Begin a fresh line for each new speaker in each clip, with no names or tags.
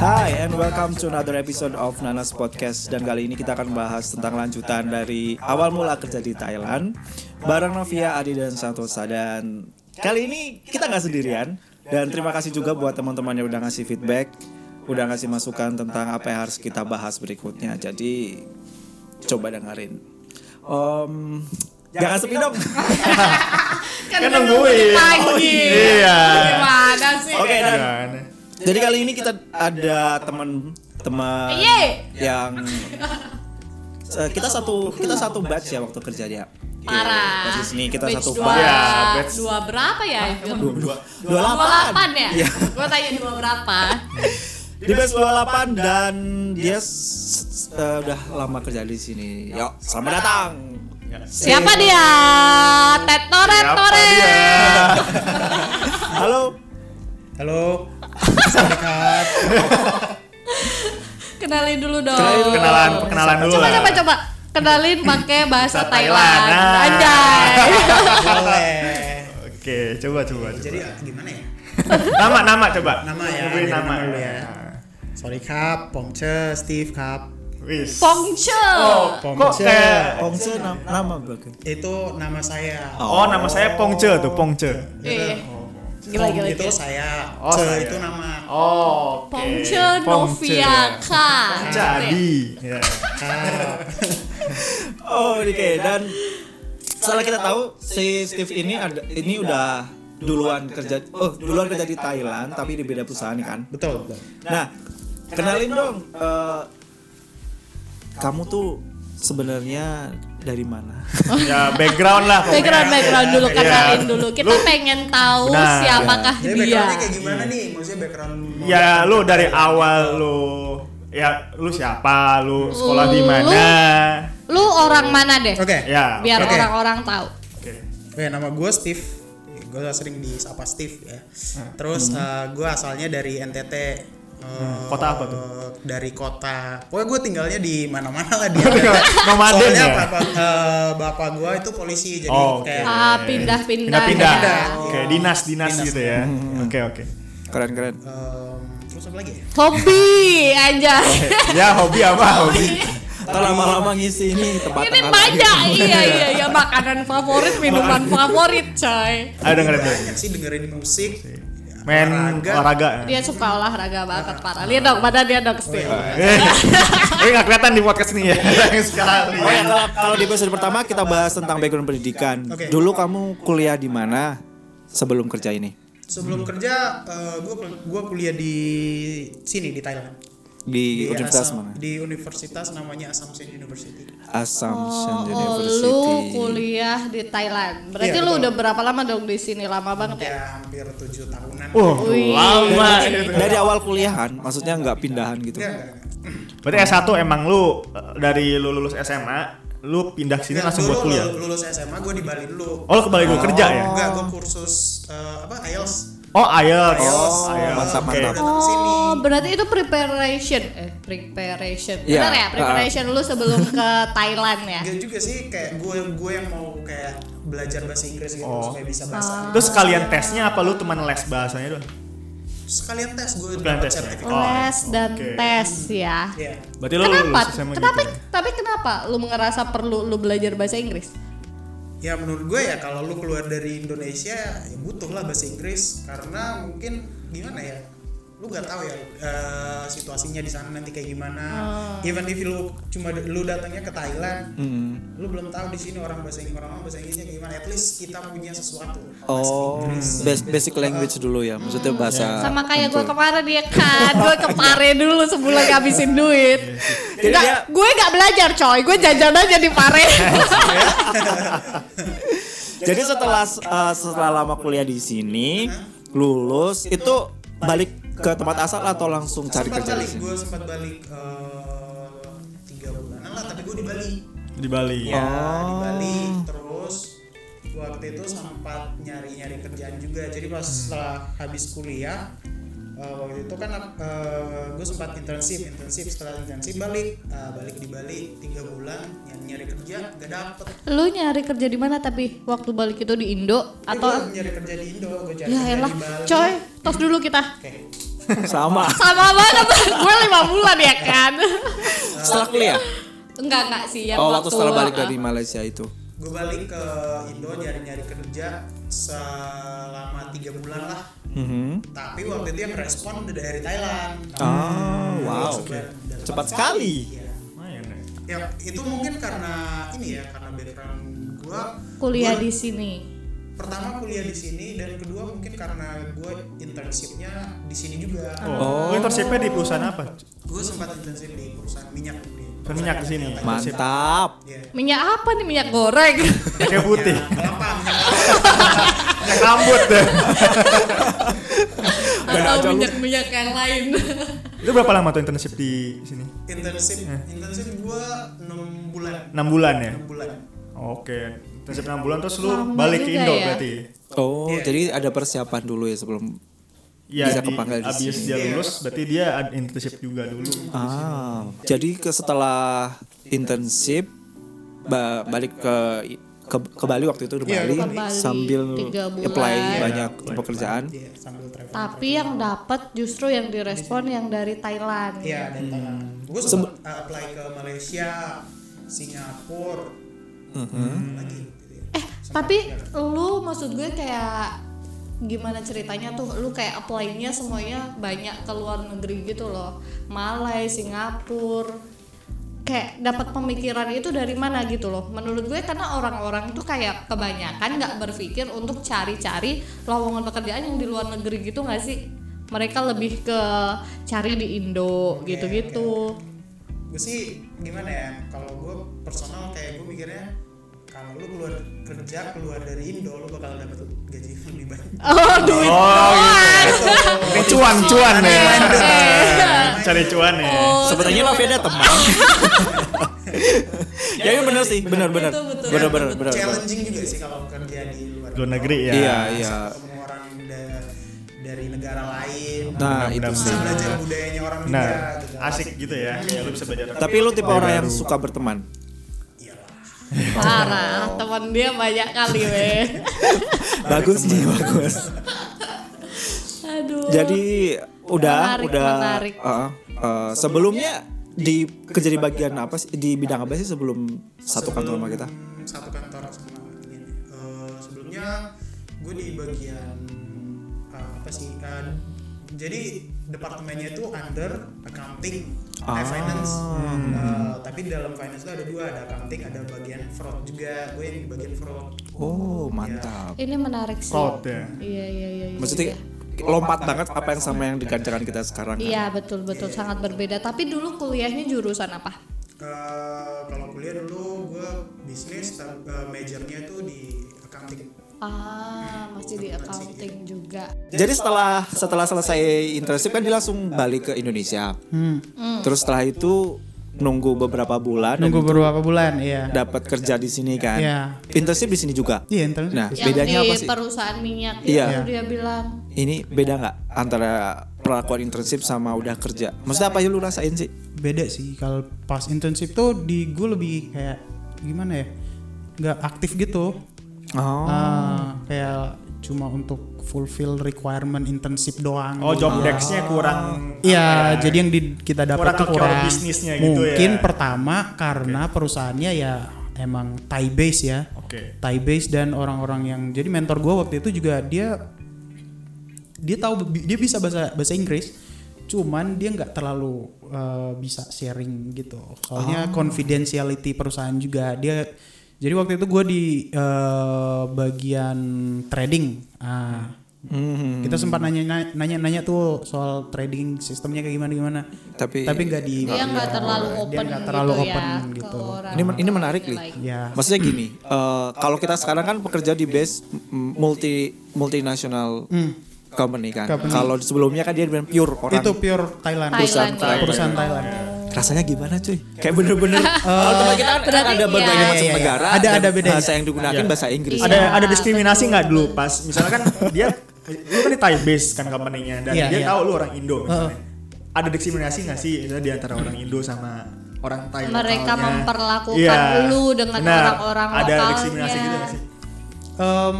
Hi and welcome to another episode of Nanas Podcast Dan kali ini kita akan bahas tentang lanjutan dari awal mula kerja di Thailand Bareng Novia, Adi dan Santosa Dan kali ini kita nggak sendirian Dan terima kasih juga buat teman-teman yang udah ngasih feedback Udah ngasih masukan tentang apa yang harus kita bahas berikutnya Jadi coba dengerin Om, Jangan sepi dong
kan
Kan nungguin.
lagi
Iya.
gimana sih
Oke dan
Gimana?
Jadi kali ini kita ada teman-teman
Iye.
yang Eh, kita satu kita satu batch ya waktu kerja dia.
parah
Persis nih kita
Iya. Batch
satu
dua,
batch.
Ya, batch.
dua berapa ya dua,
Dua,
dua delapan ya
Iya.
gua tanya dua berapa
Di batch 28 dan dia s- s- eh, udah lama kerja di sini. Yuk, selamat datang.
siapa dia tetoret
Siapa
toret
dia?
Halo.
Halo, selamat
kenalin dulu dong
Kenalin dulu.
Kenalan, kenalan dulu
coba
lah.
coba coba kenalin pakai bahasa
Bahasa
Thailand
Thailand. Ah.
anjay
boleh.
Oke, coba coba. coba.
Jadi gimana ya?
nama nama coba.
Nama ya,
Nungguin
dari
nama.
nama dulu ya. สวัสดีครับ ผมชื่อสตีฟครับ
Wis.
Pongce
Oh, kok
Pongce.
kayak
Pongse nam- Eh, nama kan. bagus.
itu nama saya
Oh, nama saya Pongce tuh, Pongce.
Iya. Gila,
Gila,
gila,
itu
gila.
saya
Oh,
Ce
saya.
itu nama
Oh, oke.
Pongce
Pongce.
Novia Ka
Jadi. Ya.
Kak
Oh, oke dan setelah kita tahu si Steve ini ada ini udah duluan kerja oh duluan kerja di Thailand tapi di beda perusahaan kan
betul betul
Nah, kenalin dong. eh, kamu tuh sebenarnya dari mana?
Ya, background lah pokoknya.
background background dulu
Iya.
kenalin dulu kita
Lu-
pengen tahu
Benar.
siapakah
jadi
dia
backgroundnya kayak gimana nih maksudnya background
Ya, lu dari awal lu ya lu siapa? Lu sekolah di
Lu-
mana?
lu orang mana deh
oke
Ya.
biar
oke.
orang-orang tahu
oke.
oke nama gue Steve gue sering disapa Steve ya
Hmm.
terus gue asalnya dari NTT eh,
Hmm. kota apa tuh?
dari kota pokoknya gue tinggalnya di mana-mana lah di
Nomaden
Soalnya
ya.
bapak, eh, bapak gua itu polisi jadi
Oh, oke.
kayak
Ah, pindah-pindah.
Pindah-pindah.
Pindah.
Oke, dinas-dinas
Dinas.
gitu ya. Oke, oke.
Keren keren.
em, terus apa lagi ya?
hobi aja
Ya, hobi apa? Hobi.
Ntar lama-lama ngisi ini tempat
ini banyak iya iya iya makanan favorit minuman favorit coy
Ayo dengerin dulu.
Banyak sih dengerin musik, ya,
Main olahraga.
dia suka olahraga banget parah lihat dong badan dia dong
Oh, iya,
Steve
Eh, ini nggak kelihatan di podcast ini ya. iya. Sayang sekali.
Oh ya, kalau, kalau di episode pertama kita bahas tentang background pendidikan.
Oke.
Dulu kamu kuliah di mana sebelum kerja ini?
Sebelum kerja eh, gua gua kuliah di sini di Thailand.
Di universitas
Assam-
mana?
Di universitas namanya Assumption University.
Assumption
Oh, oh,
University.
lu kuliah di Thailand. Berarti
Iya,
lu
betul.
udah berapa lama dong di sini? Lama banget ya?
Ya hampir tujuh tahunan.
Uh,
Wih.
lama gitu.
Dari awal kuliahan, maksudnya nggak pindahan gitu.
Ya, enggak, enggak.
Berarti S1 emang lu eh, dari lu lulus SMA, lu pindah sini
Ya,
langsung
dulu
buat kuliah.
lu- Lulus SMA gua di Bali dulu.
Oh, lu kembali dulu kerja ya?
Enggak, gua kursus eh, apa IELTS.
Oh, IELTS.
IELTS.
IELTS.
mantap,
Oke.
mantap.
Datang sini.
Oh, berarti itu preparation, eh preparation.
Iya, Gitu.
Benar ya, preparation lu sebelum ke Thailand ya.
Gak juga sih kayak gue gue yang mau kayak belajar bahasa Inggris gitu
Oh.
supaya bisa bahasa.
Terus kalian tesnya apa lu teman les bahasanya doang?
Sekalian tes gue
Sekalian tes
dapat
ya?
sertifikat.
Oh,
Les dan
oke.
tes ya.
Iya.
Berarti lu
Kenapa?
lulus SMA
Kenapa?
gitu.
Tapi kenapa lu ngerasa perlu lu belajar bahasa Inggris?
Ya menurut gue ya kalau lu keluar dari Indonesia ya butuh lah bahasa Inggris karena mungkin gimana ya lu gak tahu ya eh, situasinya di sana nanti kayak gimana. Even if lu cuma lu datangnya ke Thailand,
Hmm.
lu belum tahu di sini orang bahasa Inggris orang bahasa Inggrisnya kayak gimana. At least kita punya sesuatu. bahasa
Oh,
Inggris.
bas- basic language dulu ya, maksudnya bahasa.
Sama kayak gue
Betul.
kemarin ya kan, gue kepare dulu sebulan ngabisin duit.
Iya,
Jadi
Nggak,
dia-
gue gak belajar coy, gue jajan aja di pare.
Jadi setelah uh, setelah lama kuliah di sini, lulus itu balik ke tempat asal atau langsung cari
sempat
kerja di
balik
sini?
gue sempat balik eh, tiga bulanan lah tapi gue di Bali
Di Bali.
Iya.
Oh,
ya
Oh.
di Bali terus waktu itu sempat nyari nyari kerjaan juga jadi pas
Hmm.
setelah habis kuliah eh, waktu itu kan gue sempat intensif intensif setelah intensif balik Eh, balik di Bali tiga bulan nyari nyari kerja gak dapet
lu nyari kerja di mana tapi waktu balik itu di Indo
Tapi
atau
Iya,
gua nyari kerja di Indo gue cari
ya
kerja
elah
di Bali
coy tos dulu kita
Oke.
Sama.
Sama banget gue lima bulan ya kan.
Setelah kuliah.
enggak enggak sih yang
Oh, waktu setelah balik
ah,
dari Malaysia itu.
gue balik ke Indo nyari-nyari kerja selama tiga bulan lah
Mm-hmm.
Mhm.
tapi waktu itu yang respon udah dari Thailand
Ah, wow.
Sudah- sudah
Cepat sekali.
Iya.
Lumayan ya.
ya itu mungkin karena ini ya karena background gue
kuliah di sini.
pertama kuliah di sini dan kedua mungkin karena gue internshipnya di sini juga
Oh, internshipnya di perusahaan apa?
gue sempat internship di perusahaan minyak di
Perusahaan minyak di sini.
Mantap.
Iya.
Minyak apa nih minyak goreng?
Kayak putih.
Ya, kelapa minyak
Kayak rambut ya. deh.
Atau minyak minyak yang lain?
Itu berapa lama tuh internship di sini?
internship internship gue 6 bulan
6 bulan ya?
6 bulan
Oke. Internship 6 bulan terus lu
Lama
balik ke
juga
Indo
ya.
berarti.
Oh,
Iya.
jadi ada persiapan dulu ya sebelum Bisa kepanggil di
Iya, abis
sini.
dia
Iya.
lulus berarti dia ad- internship juga dulu.
Ah, jadi ke setelah internship ba- balik ke ke, ke Bali waktu itu ke
Iya,
Bali,
ke
Bali.
sambil
Tiga bulan.
apply banyak pekerjaan.
Iya, sambil travel
Tapi yang dapat justru yang direspon yang dari Thailand.
Iya,
Hmm.
dan Thailand. Gue sempat uh, apply ke Malaysia, Singapura,
Mm-hmm.
lagi. gitu ya.
Eh, tapi lu maksud gue kayak gimana ceritanya tuh lu kayak apply-nya semuanya banyak ke luar negeri gitu loh. Malai, Singapura. Kayak dapat pemikiran itu dari mana gitu loh. Menurut gue karena orang-orang tuh kayak kebanyakan nggak berpikir untuk cari-cari lowongan pekerjaan yang di luar negeri gitu nggak sih? Mereka lebih ke cari di Indo
Oke,
gitu-gitu.
Gue sih gimana ya? Kalau gue personal kayak gue mikirnya kalau lu keluar kerja keluar dari Indo lu bakal dapet gaji yang lebih banyak.
Oh, duit.
Oh,
doang.
Ini cuan-cuan ya.
Oke.
Cari cuan ya.
Oh,
Sebenarnya
terima
Novi ada teman. ya, ya benar sih, benar-benar,
Betul, betul.
benar-benar, benar.
Challenging juga sih kalau kerja di luar.
Luar negeri ya.
Iya, iya.
Ketemu orang da- dari negara lain.
Nah itu
bisa
sih.
belajar budayanya orang
Nah,
juga. gitu.
asik gitu ya. Kayak lu bisa belajar.
Tapi lu tipe orang yang suka berteman.
Iyalah.
Parah, teman dia banyak kali weh.
Bagus sih, bagus.
Aduh.
Jadi udah,
Menarik,
udah.
menarik.
uh, uh, sebelumnya di kerja di bagian apa sih? Di bidang apa sih sebelum satu kantor sama kita?
Sebelum satu kantor sama ini Eh, sebelumnya gue di bagian eh, apa sih Eh, jadi departemennya itu under accounting eh,
Ah.
finance Eh, tapi dalam finance itu ada dua ada accounting ada bagian fraud juga gue yang di bagian fraud
Oh mantap.
ini menarik sih.
Fraud ya.
Iya iya iya. iya.
Maksudnya lompat banget apa yang sama yang dikerjakan kita sekarang. kan?
Iya betul betul sangat berbeda. Tapi dulu kuliahnya jurusan apa?
Eh, kalau kuliah dulu gue bisnis tapi eh, majornya itu di accounting
Ah masih di accounting juga.
Jadi setelah setelah selesai internship kan dia langsung balik ke Indonesia.
Hmm.
Terus setelah itu nunggu beberapa bulan
Nunggu beberapa bulan, iya.
dapat kerja di sini kan.
Iya.
Internship di sini juga.
Iya, internship
Nah,
di
Yang
bedanya
di
apa sih?
perusahaan minyak
Iya.
itu dia bilang.
Ini beda nggak antara perlakuan internship sama udah kerja? Maksudnya apa yang lu rasain sih?
Beda sih kalau pas internship tuh di gue lebih kayak gimana ya? Nggak aktif gitu.
Oh.
Ah, kayak cuma untuk fulfill requirement internship doang. gitu.
Oh,
Ah.
job desk-nya kurang ya?
Iya, jadi yang di, kita dapat
Kurang
tuh
ke core
kurang
bisnisnya
mungkin
gitu ya.
pertama karena perusahaannya ya emang Thai base ya.
Oke.
Thai base dan orang-orang yang jadi mentor gue waktu itu juga dia dia tahu dia bisa bahasa bahasa Inggris, cuman dia nggak terlalu uh, bisa sharing gitu. Soalnya confidentiality perusahaan juga dia. Jadi waktu itu gue di uh, bagian trading. Ah,
Mhm.
kita sempat nanya nanya nanya tuh soal trading sistemnya kayak gimana gimana
Tapi-
tapi nggak di
Iya.
Iya.
Dia nggak terlalu
dia
open
nggak terlalu
gitu
open
ya
gitu
ke orang.
Ini ini menarik nih.
ya
Maksudnya gini, eh, kalau kita sekarang kan pekerja di base m- multi multinasional
Hmm.
company kan.
Company.
Kalau sebelumnya kan dia bilang pure orang.
itu pure Thailand Iya.
Perusahaan Thailand.
perusahaan Thailand
Rasanya gimana cuy? Kayak bener-bener.
Eh,
kalau teman kita kan
berarti
ada berbagai
iya,
macam
iya, iya.
negara.
Ada-
dan
ada bedanya.
Bahasa yang digunakan bahasa Inggris.
Ada
Iya,
ada diskriminasi nggak dulu pas misalnya kan dia lu kan di Thai base kan company-nya dan
Iya,
dia
iya.
tahu lu orang Indo misalnya. Ada diskriminasi nggak sih misalnya di antara orang Indo sama orang Thai
Mereka
lokalnya?
memperlakukan
Iya.
lu dengan
Benar.
orang-orang
Ada
lokalnya.
diskriminasi gitu nggak sih?
Em,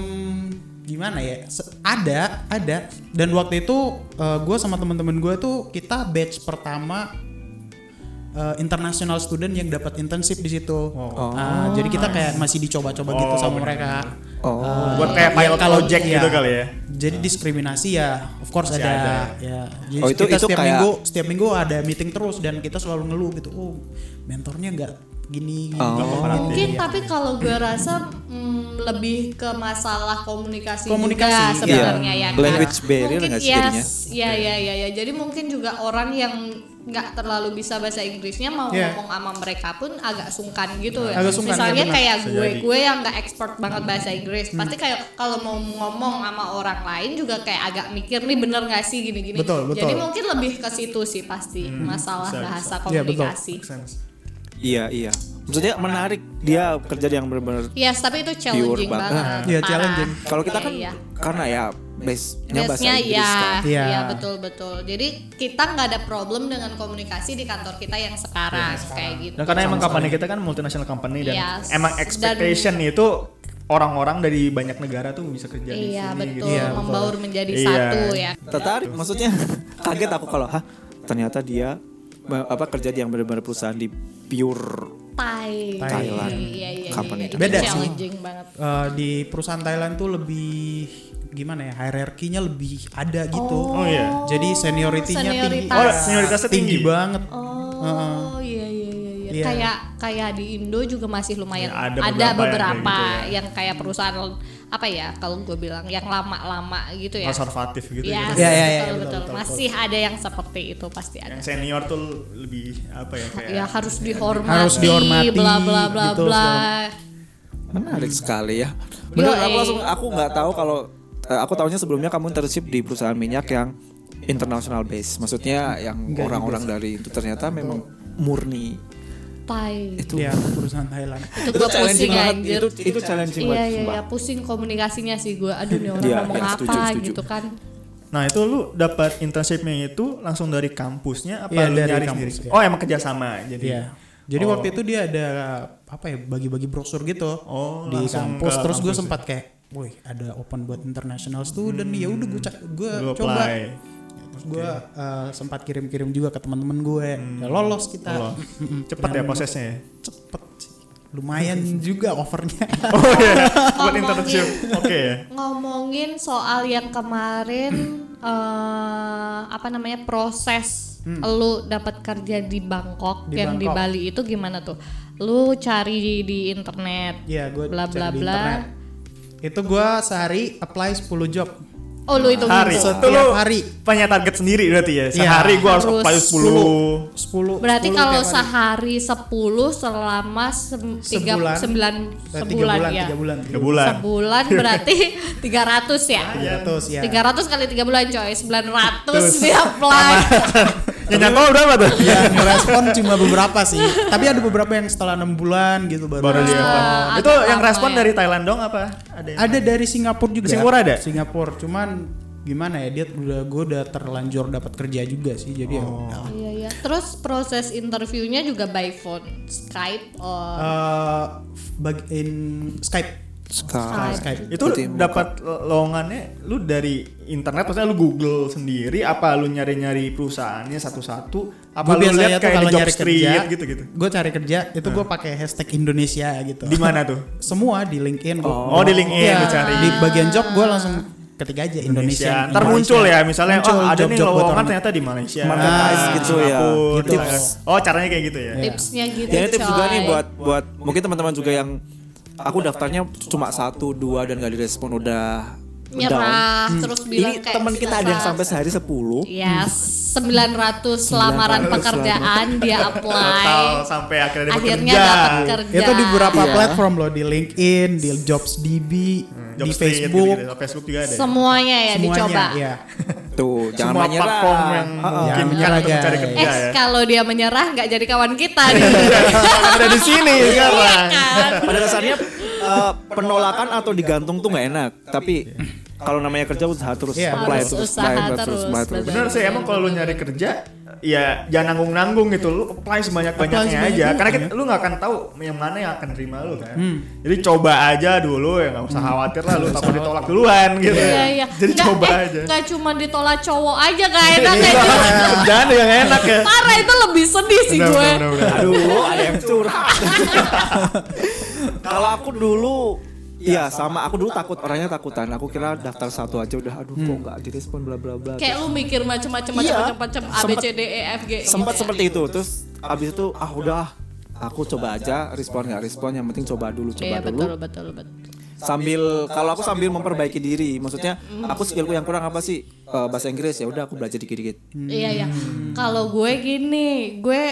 gimana ya se- ada ada dan waktu itu gue sama temen-temen gue tuh kita batch pertama eh, international student yang dapat internship di situ
Oh.
Ah, jadi kita kayak masih dicoba-coba gitu
Oh,
sama
bener.
mereka
Oh.
Ah,
Buat kayak pilot
kalau-
project
iya.
gitu kali ya.
jadi diskriminasi ya of course
Masih
ada,
ada.
ya jadi
Oh, itu-
kita
itu
setiap
kayak-
minggu setiap minggu ada meeting terus dan kita selalu ngeluh gitu oh mentornya nggak gini, gini,
Oh.
gini, gini."
mungkin
Iya.
tapi kalau gue rasa mm, lebih ke masalah komunikasi
Komunikasi,
juga
iya.
sebenarnya ya kan?
Language barrier
mungkin
nggak sih jadinya? Iya.
yes, ya ya ya ya jadi mungkin juga orang yang nggak terlalu bisa bahasa Inggrisnya mau
Iya.
ngomong sama mereka pun agak sungkan gitu ya
Agak sungkan,
misalnya
iya benar.
kayak
Bisa
gue
jadi.
gue yang nggak expert banget bahasa Inggris
Hmm.
pasti kayak kalau mau ngomong sama orang lain juga kayak agak mikir nih bener nggak sih gini-gini
Betul, betul. Hmm,
jadi mungkin lebih ke situ sih pasti masalah
bisa,
bahasa
bisa. Iya, betul.
komunikasi
Make sense.
Iya iya. Maksudnya menarik dia kerja yang benar-benar
Yes, tapi itu challenging
Pure banget.
banget.
Iya,
Parah.
challenging.
Kalau kita kan
Iya.
karena ya base-nya bahasa
Biasanya
Inggris
ya,
kan.
Iya.
iya betul betul. Jadi kita nggak ada problem dengan komunikasi di kantor kita yang sekarang kayak gitu.
Dan karena emang company kita kan multinational company dan
Yes.
emang
Dan-
expectation itu orang-orang dari banyak negara tuh bisa kerja di
Iya
sini
betul,
gitu.
membaur menjadi
Iya.
satu ya.
Tertarik maksudnya kaget aku kalau hah ternyata dia ma- apa kerja di yang benar-benar perusahaan di pure
Thai,
Thailand.
Iya, iya, iya,
Kapan
iya.
itu?
Itu
Beda sih.
challenging banget.
Eh, di perusahaan Thailand tuh lebih gimana ya hierarkinya lebih ada gitu.
Oh, iya.
Jadi senioritinya tinggi.
Senioritas.
Oh, senioritasnya tinggi.
banget.
Oh, iya iya iya iya.
Iya.
Kayak kayak di Indo juga masih lumayan
Ya, ada
ada,
beberapa yang
beberapa,
kayak gitu ya.
yang kayak perusahaan apa ya kalau gue bilang yang lama-lama gitu ya.
Konservatif gitu.
Yes,
gitu.
Ya, ya, ya,
betul,
betul,
betul.
betul,
Masih ada yang seperti itu pasti ada.
Yang senior tuh lebih apa ya kayak
Ya harus dihormati,
Harus dihormati,
bla bla bla
gitu,
bla.
Menarik sekali ya. Benar,
Yoi.
aku langsung aku nggak tahu kalau eh, aku tahunya sebelumnya kamu internship di perusahaan minyak yang international base. Maksudnya yang orang-orang dari itu ternyata memang murni
Tai.
itu.
Iya, perusahaan Thailand.
Itu gue pusing
banget.
anjir.
Itu itu challenging
Iya
banget.
iya
sumpah.
iya pusing komunikasinya sih gue. Aduh nih orang
Iya,
ngomong
iya,
apa
setuju, setuju.
gitu kan.
Nah itu lu dapat internshipnya itu langsung dari kampusnya apa
Iya,
lu
dari
nyari
kampus,
sendiri?
iya.
Oh emang kerjasama jadi.
Iya. Jadi
Oh.
waktu itu dia ada apa ya bagi-bagi brosur gitu
Oh,
di
langsung
kampus.
ke
Terus gue
kampus ya.
sempat kayak, woi ada open buat international student nih. Ya udah gue gue
Lu
coba.
apply.
Terus gue sempat kirim-kirim juga ke teman-teman gue. Ya, lolos kita.
Oh, cepet ya prosesnya ya.
Cepet sih. Lumayan juga overnya.
Oh iya. Buat
Ngomongin.
internship. Oke ya.
ngomongin soal yang kemarin eh apa namanya proses lu dapat kerja di Bangkok
Di
yang di
Bangkok.
Bali itu gimana tuh? Lu cari di, di internet.
Iya, gue
bla
cek
bla
di
bla.
internet. Itu gue sehari apply 10 job.
Oh lu itu
Hari. Itu lu
Setiap hari.
punya target sendiri berarti ya. Sehari
Iya.
gua harus
Harus
apply 10.
10.
Berarti
10
kalau
tiap hari.
sehari 10 selama sem- tiga,
Sebulan.
sembilan,
Eh, tiga
sebulan
bulan,
ya.
tiga bulan, tiga
Tiga bulan.
Sebulan berarti 300 ya.
Iya,
Tiga ratus ya.
300 kali 3 bulan coy, 900 dia apply.
Yang nyantol berapa tuh?
Iya.
Ya, merespon cuma beberapa sih. Tapi ada beberapa yang setelah enam bulan gitu baru.
Baru dia
respon.
apply.
Iya. ada
Itu yang
apa
respon
ya?
dari Thailand dong apa? Ada yang
Ada dari Singapura juga.
Singapura ada?
Singapura, cuman gimana ya dia udah gue udah terlanjur dapat kerja juga sih
Oh.
jadi ya udah.
Iya iya. Terus proses interviewnya juga by phone, Skype or
Eh, bagi- in Skype
Sekarang.
Skype.
itu dapat lowongannya lu dari internet maksudnya lu Google sendiri apa lu nyari-nyari perusahaannya satu-satu apa lu
Gua biasanya
lihat
tuh
kayak di
kalau
job
nyari kerja
street gitu-gitu Ah.
Gue cari kerja itu gue pakai hashtag Indonesia gitu.
di mana tuh
Semua di LinkedIn. gua-
Oh, di LinkedIn
Iya,
lu cari.
Di bagian job gue langsung ketik aja Indonesia.
Indonesia ntar muncul ya misalnya
Muncul
oh, ada nih
job-job buat
lowongan
orang.
ternyata di Malaysia
Marketplace
di
gitu ya.
Singapura,
Gitu.
di Thailand. oh caranya kayak gitu ya
tipsnya gitu.
Ya ini tips juga
coy.
nih buat buat mungkin teman-teman juga yang aku daftarnya cuma satu dua dan gak direspon udah down. Hmm.
nyerah terus bilang
Ini
kayak
teman kita ada yang sampai sehari 10
Ya, 900 lamaran pekerjaan dia apply.
total sampai akhirnya dapat
Akhirnya
kerja
dapat kerja.
Itu di beberapa
Iya.
platform loh di LinkedIn, di JobsDB,
Job
di
street
Facebook,
gitu-gitu. Facebook juga ada ya?
semuanya ya
semuanya.
dicoba.
Iya.
Tuh, jangan
semua
menyerah.
platform yang
Ah, ah.
Jangan
mungkin kan
menyerah,
untuk mencari
guys.
kerja
Eh,
ya
kalau dia menyerah nggak jadi kawan kita nih.
ada di sini kan
Iya
Bang?
kan?
pada dasarnya eh, penolakan atau digantung tuh nggak enak tapi kalau namanya kerja usaha terus
Iya,
apply
harus
terus
usaha
apply
terus,
terus apply terus
Iya,
Bener sih emang kalau lu nyari kerja ya jangan nanggung-nanggung gitu lu apply sebanyak-banyaknya
Apply
aja
sebanyak-banyaknya.
karena kita- lu nggak akan tahu yang mana yang akan terima lu kan
Hmm.
jadi coba aja dulu ya nggak
Hmm.
usah khawatir lah lu takut ditolak duluan gitu
Iya iya.
jadi
Nggak,
coba
eh,
aja Iya.
nggak cuma ditolak cowok aja gak enak kayak gitu.
jangan yang enak ya
Parah itu lebih sedih sih
Benar,
gue.
benar, benar.
Aduh, ada yang curhat. Kalau aku dulu Iya sama aku dulu takut orangnya takutan aku kira daftar satu aja udah aduh kok nggak direspon bla bla bla
Kayak lu mikir macam-macam
Iya.
macam-macam macam A B
Sempet-
C D E F G.
sempat seperti itu terus abis itu ah udah aku coba aja respon nggak respon yang penting coba dulu coba
Iya
dulu
betul betul betul.
sambil kalau aku sambil memperbaiki diri maksudnya aku skillku yang kurang apa sih Eh, bahasa Inggris ya udah aku belajar dikit dikit
Iya iya. Kalau gue gini, gue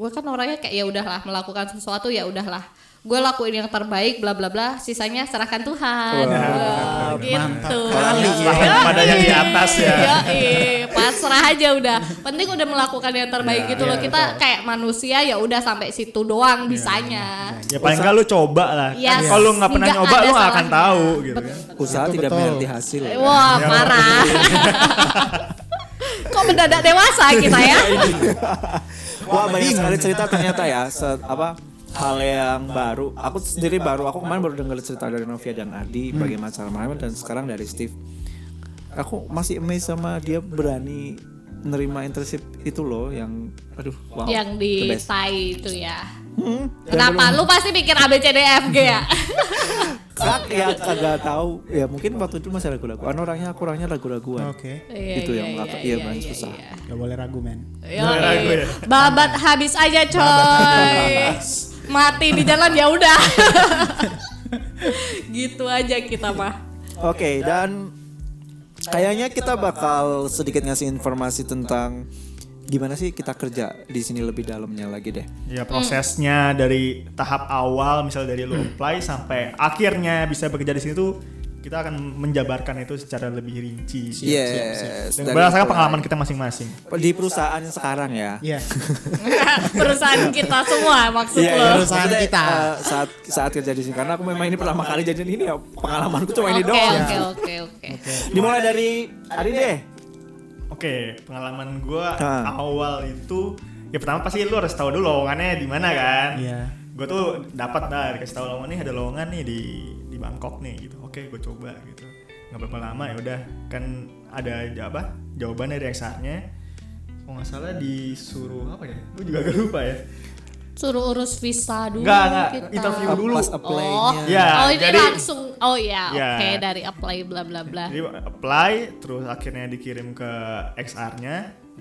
gue kan orangnya kayak ya udahlah melakukan sesuatu ya udahlah. Gue lakuin yang terbaik bla bla bla, sisanya serahkan Tuhan. Wah, gitu.
Serahkan
Yoi.
kepada yang di atas ya.
Yoi, pasrah aja udah. Penting udah melakukan yang terbaik gitu loh. Kita kayak manusia ya udah sampai situ doang bisanya.
ya paling nggak lu coba lah
Iya,
Kan kalau lu nggak pernah
nggak
nyoba
ada
lu nggak akan
salahnya.
tahu gitu kan
usaha
Itu
tidak
betul.
mengerti hasil
Eh, Wah, parah. Kok mendadak dewasa kita ya?
Wah banyak sekali cerita ternyata ya se- apa hal yang baru. Aku sendiri baru aku kemarin baru dengar cerita dari Novia dan Adi bagaimana cara mereka dan sekarang dari Steve. Aku masih amazed sama dia berani nerima internship itu loh yang aduh wow.
Yang di
the best. Hmm,
Thai itu ya. Kenapa? Lu pasti mikir ABCDFG ya?
Hmm. Kak ya kagak tahu ya mungkin waktu itu masih ragu-raguan orangnya aku orangnya ragu-raguan.
Oke.
Iya,
Itu yang
iya,
melaka-
iya,
iya, paling
iya,
susah.
iya.
Gak boleh ragu men.
Yoi.
ya.
Babat habis aja coy. Mati di jalan ya udah. gitu aja kita mah.
Oke, dan kayaknya kita bakal sedikit ngasih informasi tentang gimana sih kita kerja di sini lebih dalamnya lagi deh.
Ya prosesnya dari tahap awal misal dari lu apply sampai akhirnya bisa bekerja di sini tuh kita akan menjabarkan itu secara lebih rinci.
Yes,
Dan
dari
berdasarkan
mulai.
pengalaman kita masing-masing.
Di perusahaan yang sekarang ya.
Iya.
Perusahaan kita semua maksud
Iya,
lo.
perusahaan
Iya, Maksudnya,
kita.
eh, saat saat kerja di sini karena aku memang ini pertama kali jadi ini ya pengalamanku cuma ini
Oke
doang. ya.
oke oke oke.
Dimulai dari Adi deh.
Oke, pengalaman gua
Ah.
awal itu ya pertama pasti lu harus tahu dulu lowongannya di mana kan.
Iya.
Gue tuh dapat dah dikasih tahu lowongan nih ada lowongan nih di di Bangkok nih gitu. Oke, gue coba gitu. Nggak berapa lama ya udah kan ada ja- apa? Jawaban dari HR-nya. Kalau nggak salah disuruh apa ya? Gue juga agak lupa ya.
Suruh urus visa dulu
Enggak, enggak.
kita.
Interview dulu.
Pas
Oh,
apply-nya.
Ya,
oh ini
jadi-
langsung. Oh ya,
Ya.
oke dari apply bla bla bla.
Jadi apply terus akhirnya dikirim ke XR-nya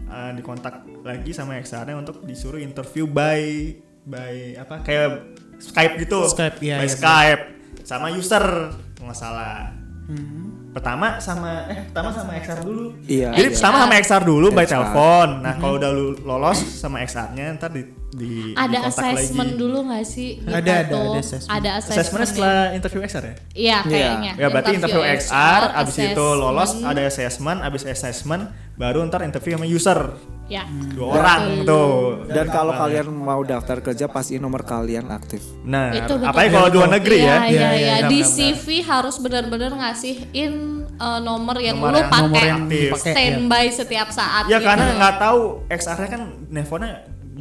eh, dikontak lagi sama XR-nya untuk disuruh interview by by apa kayak Skype gitu.
Skype, iya,
By
iya,
Skype sama user kalau nggak salah.
Hmm.
Pertama sama eh pertama sama XR dulu.
Iya.
Jadi
iya.
pertama sama XR dulu by
XR.
telepon. Nah, kalau
Hmm.
udah lu lolos sama XR-nya ntar di, di
Ada
dikontak
assessment
lagi.
dulu nggak sih? Gitu
Ada, ada,
tuh.
ada assessment.
Ada assessment.
Assessmentnya setelah interview XR ya?
Iya kayaknya.
Ya berarti interview XR, abis itu
assessment. Iya.
lolos ada assessment, abis assessment baru ntar interview sama user
Ya.
dua orang tuh.
Dan kalau kalian mau daftar kerja pasti nomor kalian aktif.
Nah,
Itu betul.
apalagi kalau dua negeri
Iya,
ya.
Iya, iya,
benar,
Di
benar.
CV harus benar-benar ngasihin eh, nomor yang lu
Nomor yang-
pakai
Nomor yang
Aktif.
dipakai. ya.
standby setiap saat.
Ya
gitu.
karena nggak tahu XR-nya kan nelfonnya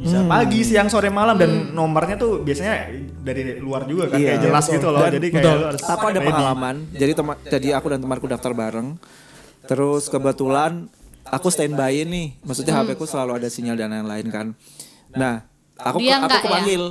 bisa
Hmm.
pagi, siang, sore, malam dan
Hmm.
nomornya tuh biasanya dari luar juga kan
Iya,
kayak jelas
betul.
gitu loh.
Dan-
jadi kayak
betul.
lu harus
aku ada
ready.
pengalaman jadi teman jadi aku dan temanku daftar bareng terus kebetulan aku standby nih maksudnya HP ku selalu ada sinyal dan lain-lain kan nah aku
Dia
aku
enggak ya?
kepanggil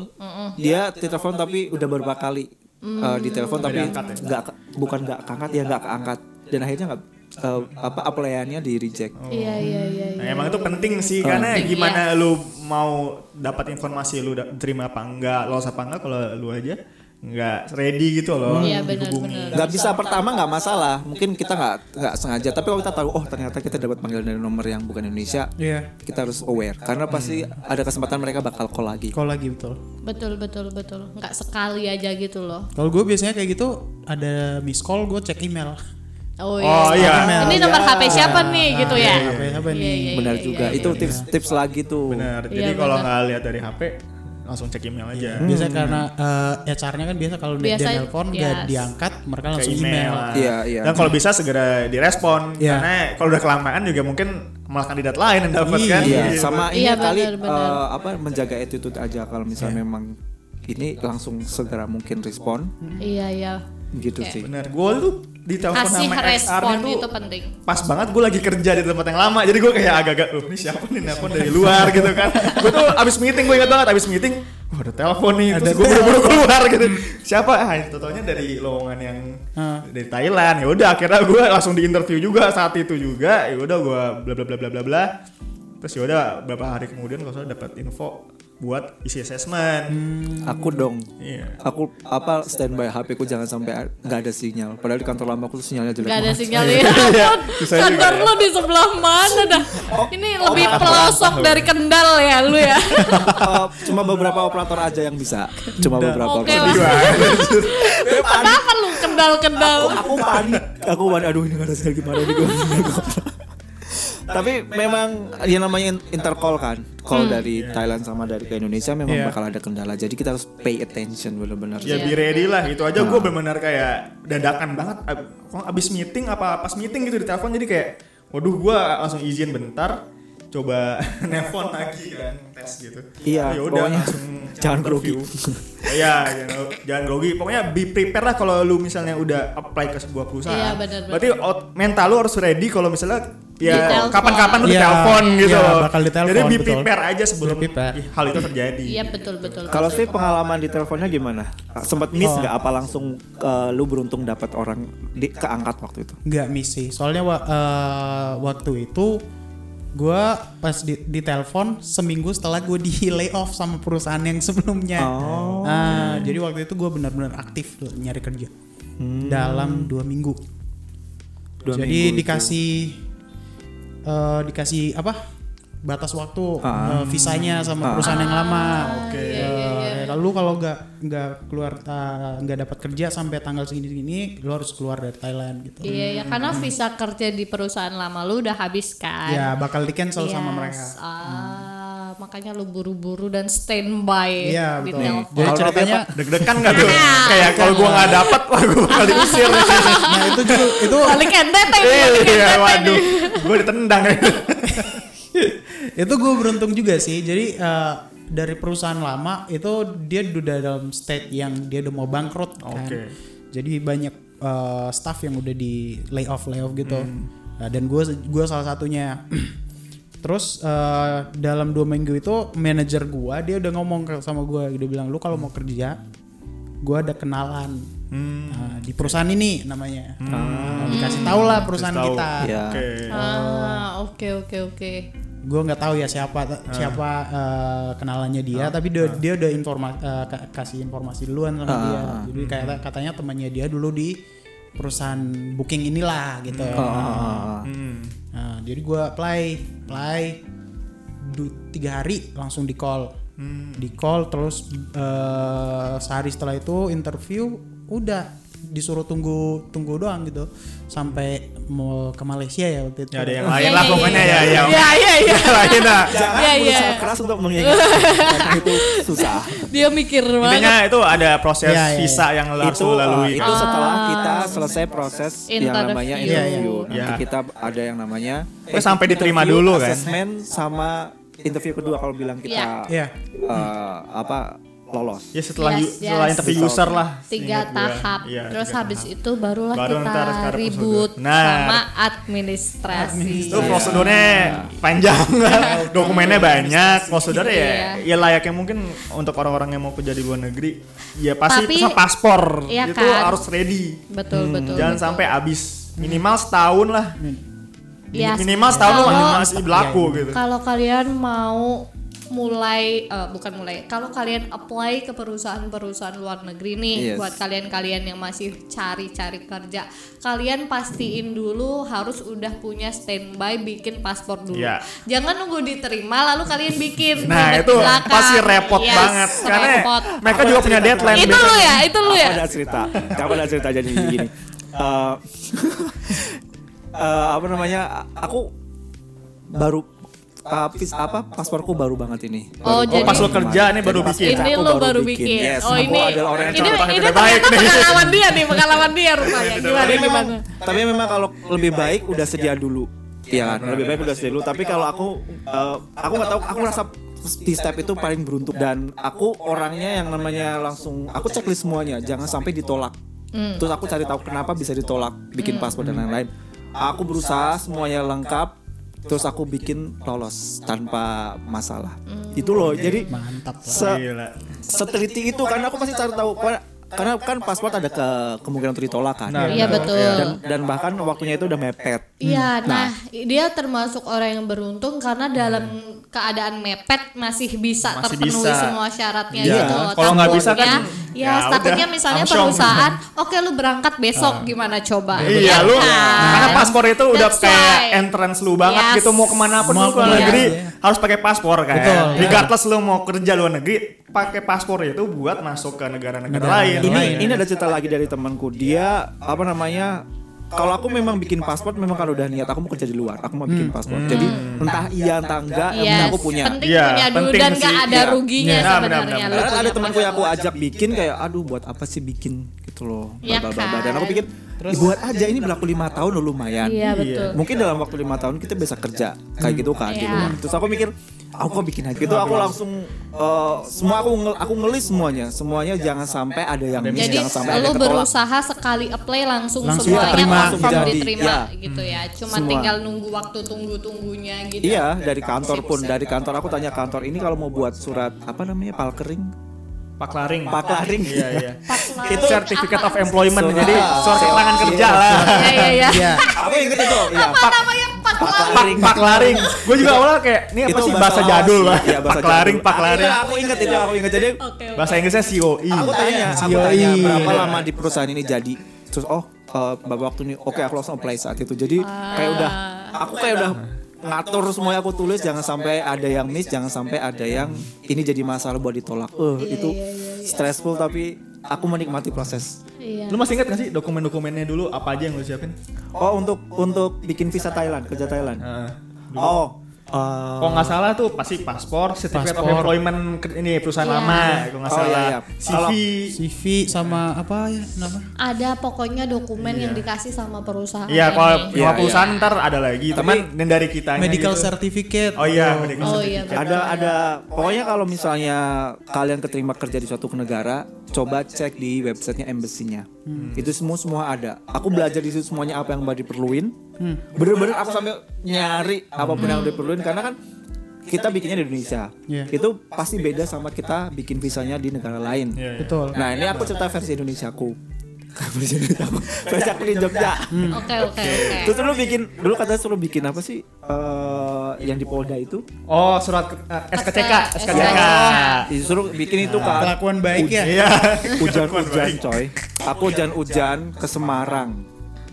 dia ditelepon tapi udah beberapa kali eh, ditelepon tapi nggak ke- bukan nggak keangkat ya nggak keangkat dan akhirnya nggak eh, apa applyannya di reject
Iya, iya, iya.
Nah, emang itu penting sih karena
Penting,
gimana lu mau dapat informasi lu da- terima apa enggak, lolos apa enggak kalau lu aja enggak ready gitu loh.
Iya, benar,
dihubungi.
benar.
nggak bisa pertama nggak masalah mungkin kita nggak nggak sengaja tapi kalau kita tahu oh ternyata kita dapat panggilan dari nomor yang bukan Indonesia
Iya.
kita harus aware karena pasti ada kesempatan mereka bakal call lagi
Kalau lagi betul.
Betul, betul, betul. Nggak sekali aja gitu loh.
Kalau gue biasanya kayak gitu ada miss call gue cek email.
Oh,
Oh iya.
Ini nomor HP siapa nih gitu ya?
Iya, apa- apa nih?
benar juga itu tips tips lagi tuh
Benar.
Iya,
Jadi kalau
benar.
nggak lihat dari HP langsung cek email aja.
Biasanya karena
Hmm.
eh, HR-nya kan biasa kalau dia
Biasa,
nelpon
yes.
nggak diangkat, mereka
Ke
langsung
email.
email.
Iya, iya.
Dan kalau bisa segera direspon
Iya.
karena kalau udah kelamaan juga mungkin malah kandidat lain yang dapat kan
Iya,
Gitu.
sama ini
Iya,
kali
benar-benar.
eh, apa menjaga attitude aja kalau misalnya memang ini langsung segera mungkin respon
iya iya
gitu sih.
bener gue tuh ditelepon
kasih
sama XR
respon gitu,
tuh
itu penting
pas banget gue lagi kerja di tempat yang lama jadi gue kayak agak-agak loh ini siapa nih nelfon dari luar gitu kan gue tuh abis meeting gue ingat banget abis meeting wah ada telepon nih terus gue buru-buru keluar gitu siapa ah totalnya dari lowongan yang
Hah.
dari Thailand ya udah akhirnya gue langsung diinterview juga saat itu juga ya udah gue bla bla bla bla bla bla terus ya udah beberapa hari kemudian gue dapat info buat isi assessment
Aku dong.
Iya.
Aku apa standby HP ku jangan sampai a- nggak ada sinyal. Padahal di kantor lama aku tuh sinyalnya jelek.
Gak ada
banget.
sinyal ya. Ampun,
susah juga
Kantor
ya.
lu di sebelah mana dah? Ini lebih pelosok dari Kendal ya lu ya.
Eh, Cuma beberapa operator aja yang bisa. Cuma beberapa
Oke
operator.
lah. Kenapa lu Kendal-Kendal?
aku panik aku panik aduh ini nggak ada sinyal gimana ini gue tapi memang yang namanya in- intercall kan call dari Thailand sama dari ke Indonesia memang
Iya.
bakal ada kendala jadi kita harus pay attention benar-benar
ya be ready lah itu aja
Nah.
gue benar-benar kayak dadakan banget Ab- kalau abis meeting apa pas meeting gitu di telepon jadi kayak waduh gue langsung izin bentar coba nelfon lagi kan tes gitu
Iya,
Ya
pokoknya
langsung
jangan grogi.
interview. Iya, jangan, jangan grogi pokoknya be prepare lah kalau lu misalnya udah apply ke sebuah perusahaan
Iya, benar-benar.
berarti out- mental lu harus ready kalau misalnya ya
Ditelepon.
kapan-kapan lu
Iya,
ditelepon gitu
iya,
loh.
bakal ditelepon,
jadi be
betul.
prepare aja sebelum
Be prepare.
hal itu terjadi
Iya betul betul.
kalau
betul.
sih pengalaman di teleponnya gimana sempat miss nggak apa langsung eh, lu beruntung dapat orang di, keangkat waktu itu
nggak misi soalnya wa- eh, waktu itu gua pas di, di telepon seminggu setelah gue di layoff sama perusahaan yang sebelumnya
Oh.
Ah, jadi waktu itu gue benar-benar aktif tuh nyari kerja dalam dua minggu
Hmm. Dua
jadi
minggu itu.
dikasih eh, dikasih apa batas waktu
Ah.
eh, visanya
Ah.
sama perusahaan yang lama
Oke.
Eh, lalu kalau nggak nggak keluar eh, nggak dapat kerja sampai tanggal segini segini lu harus keluar dari Thailand gitu
Iya ya karena visa kerja di perusahaan lama lu udah habis kan.
Ya bakal di cancel sama
Yes.
mereka.
Ah, makanya lu buru-buru dan standby
Iya,
di
betul.
telepon.
Jadi
Kalau
ceritanya
deg-degan gak tuh?
Iya.
Kayak kalau gua gak dapet wah gua bakal diusir.
nah itu juga itu
Balik NTT, balik
Iya,
NTT
waduh,
nih.
gua ditendang.
itu gue beruntung juga sih. Jadi eh, dari perusahaan lama itu dia udah dalam state yang dia udah mau bangkrut kan.
Oke.
Jadi banyak eh, staff yang udah di layoff layoff gitu. Nah, dan gue gua salah satunya. Terus eh, dalam dua minggu itu manajer gue dia udah ngomong ke- sama gue dia bilang lu kalau mau kerja gue ada kenalan Nah, di perusahaan ini namanya Nah, dikasih tau lah perusahaan
Kasih tahu.
kita
Iya.
Oke.
Ah, oke oke oke.
gue nggak tahu ya siapa
Ah.
siapa eh, kenalannya dia tapi dia, dia udah informa- eh, ka- kasih informasi duluan sama
Ah.
dia jadi kayak katanya temannya dia dulu di perusahaan booking inilah gitu
Ah.
Hmm.
Nah, jadi gue apply apply du- tiga hari langsung di call
Hmm.
di call terus eh, sehari setelah itu interview udah disuruh tunggu tunggu doang gitu sampai mau ke Malaysia ya waktu itu
Ya ada yang
Iya,
lain lah
iya,
pokoknya ya, ya.
Iya iya iya.
Lain lah.
jangan
Iya, iya.
berusaha keras untuk mengingat karena itu susah
Dia mikir
Intinya
banget.
itu ada proses
Iya, iya,
visa yang harus
itu
lu
uh,
lalui.
itu setelah kita selesai proses yang
Interview.
namanya
Iya,
iya.
Ah. interview nanti
Iya.
kita ada yang namanya
Terus sampai diterima
interview,
dulu kan?
assessment sama interview kedua kalau bilang kita
Iya.
eh, apa lolos
Ya setelah
Yes,
ju- setelah
yes.
interview user lah.
Tiga
seingat gua.
tahap.
Iya,
Terus
tiga
habis
tahap.
itu barulah
Baru
kita
ntar sekarang
ribut
prosedur. Nah.
sama administrasi.
itu prosedurnya panjang dokumennya banyak prosedurnya ya ya layaknya mungkin untuk orang-orang yang mau kerja di luar negeri ya pasti
Tapi-
sama paspor
Iya
itu
kan?
harus ready
Betul betul.
jangan
betul.
sampai habis minimal setahun lah
Ya,
minimal setahun lah
kalau-
masih berlaku gitu
Kalau kalian mau mulai eh, bukan mulai kalau kalian apply ke perusahaan-perusahaan luar negeri nih
Yes.
buat kalian-kalian yang masih cari-cari kerja kalian pastiin dulu harus udah punya standby bikin paspor dulu
Iya.
jangan nunggu diterima lalu kalian bikin
nah
ribet
itu
belakang.
pasti repot
Yes,
banget karena
repot.
mereka juga punya deadline
itu
biasanya.
lo ya itu lo ya
Apa ada cerita? Apa ada cerita jadi gini? Eh, eh, apa namanya? Aku baru eh, vis- apa pasporku baru banget ini.
Oh,
Baru-
jadi-
pas lo
kerja nih baru bikin.
ini
Aku
lo baru bikin,
Yes,
oh
aku
ini
adalah orang yang
ini
contoh.
contohnya
ini
tidak baik
ternyata
nih.
pengalaman dia nih pengalaman dia rupanya gimana
Tapi memang,
gimana
tapi memang kalau lebih baik udah sedia dulu. Iya kan, lebih baik udah dulu. Tapi kalau aku, eh, aku nggak tahu, aku merasa di step itu paling beruntung dan aku orangnya yang namanya langsung aku checklist semuanya, jangan sampai ditolak. Terus aku cari tahu kenapa bisa ditolak, bikin paspor dan lain-lain. Aku berusaha semuanya lengkap, terus aku bikin lolos tanpa masalah. Itu loh, jadi
Mantap lah.
se-
Gila.
seteliti itu karena aku masih cari tahu karena- karena kan paspor ada ke kemungkinan untuk ditolak kan.
Nah,
Iya betul.
Dan dan bahkan waktunya itu udah mepet.
Hmm.
Iya, nah, dia termasuk orang yang beruntung karena dalam keadaan mepet masih bisa
Masih
terpenuhi
bisa.
semua syaratnya
Iya.
gitu.
Kalau nggak bisa
Takutnya-
kan,
ya,
ya
takutnya
udah,
misalnya
langsung. Nah.
perusahaan, oke lu berangkat besok gimana coba?
Iya
Ya
lu
kan?
karena paspor itu udah
That's
kayak
why.
entrance lu banget
Yes.
gitu mau kemana pun
Mau
lu ke luar
kemana,
negeri
iya.
harus pakai paspor kan.
Betul, iya.
Regardless lu mau kerja luar negeri pakai paspor itu buat masuk ke negara-negara lain.
ini
Lain.
ini ada cerita lagi dari temanku dia apa namanya kalau aku memang bikin paspor memang kalau udah niat aku mau kerja di luar aku mau bikin paspor jadi entah iya entah enggak yang penting
Yes,
aku punya
Penting
Iya,
punya dulu
penting
dan nggak
sih,
ada
iya.
ruginya
Iya, benar,
sebenarnya.
benar,
lu
Karena ada
punya
temanku yang aku
paspor.
ajak bikin kayak aduh buat apa sih bikin gitu loh
Ya
bla bla bla, bla. dan
kan?
aku pikir "Ih, buat aja ini berlaku lima tahun loh lumayan
Iya betul.
mungkin dalam waktu lima tahun kita bisa kerja kayak gitu kan di
Iya.
luar. terus aku mikir aku kok bikin aja gitu aku langsung eh, semua aku ngel- aku ngelis semuanya semuanya jangan sampai ada yang miss,
Jadi
jangan sampai ada
lo
yang ketolak.
berusaha sekali apply langsung,
Langsung
semuanya
diterima.
confirm
Jadi,
diterima
iya.
gitu ya. Cuma
Semua.
tinggal nunggu waktu tunggu-tunggunya gitu.
Iya dari kantor pun dari kantor aku tanya kantor ini kalau mau buat surat apa namanya palkering
Pak Laring.
paklaring
Iya iya.
Paklaring
itu certificate of
apa?
employment
Surat-
jadi surat keterangan kerja
Iya.
lah.
Iya iya iya.
Iya.
aku inget itu iya
Apa namanya Pak Lari?
Pak Pak Laring. Gue juga awalnya kayak ini apa sih bahasa jadul lah.
Iya, bahasa
Pak Laring,
jadul.
Pak Laring.
Iya, aku inget itu aku inget jadi
Oke. oke.
Bahasa Inggrisnya E. COI.
aku tanya
Iya.
aku
Yoi.
tanya berapa lama di perusahaan ini jadi terus oh eh, berapa waktu ini oke aku langsung apply saat itu jadi kayak udah aku kayak udah ngatur semuanya aku tulis jangan sampai ada yang miss jangan sampai ada yang ini jadi masalah buat ditolak eh itu stressful tapi aku menikmati proses
Iya.
Lu masih ingat gak sih dokumen-dokumennya dulu apa aja yang lu siapin?
oh untuk untuk bikin visa Thailand kerja Thailand
Heeh.
oh eh,
Kalau nggak salah tuh pasti paspor, certificate of
Paspor.
employment ke- ini perusahaan
Iya.
lama, kalau nggak
Oh,
salah.
iya, iya.
CV.
CV sama apa ya nama?
Ada pokoknya dokumen yang dikasih sama perusahaan.
Iya, kalau
ini. Oh,
Iya,
kalau perusahaan ntar ada lagi, teman dan dari kitanya.
Medical
gitu.
certificate.
Oh iya, medical
Oh iya.
certificate.
ada ada pokoknya kalau misalnya kalian keterima kerja di suatu negara coba cek di websitenya embassy-nya itu semua semua ada aku belajar di situ semuanya apa yang mau diperluin bener-bener aku sambil nyari apapun yang diperluin karena kan kita bikinnya di Indonesia
Iya.
itu pasti beda sama kita bikin visanya di negara lain
Iya, iya.
Betul.
nah ini aku cerita versi Indonesia aku versi Indonesia aku versi aku di Jogja
Oke oke oke.
terus dulu bikin dulu katanya suruh bikin apa sih eh, yang di Polda itu
Oh, surat ke, eh, SKCK, SKCK.
disuruh bikin itu kan
Kelakuan baik ya.
Iya.
hujan-hujan coy aku hujan-hujan ke Semarang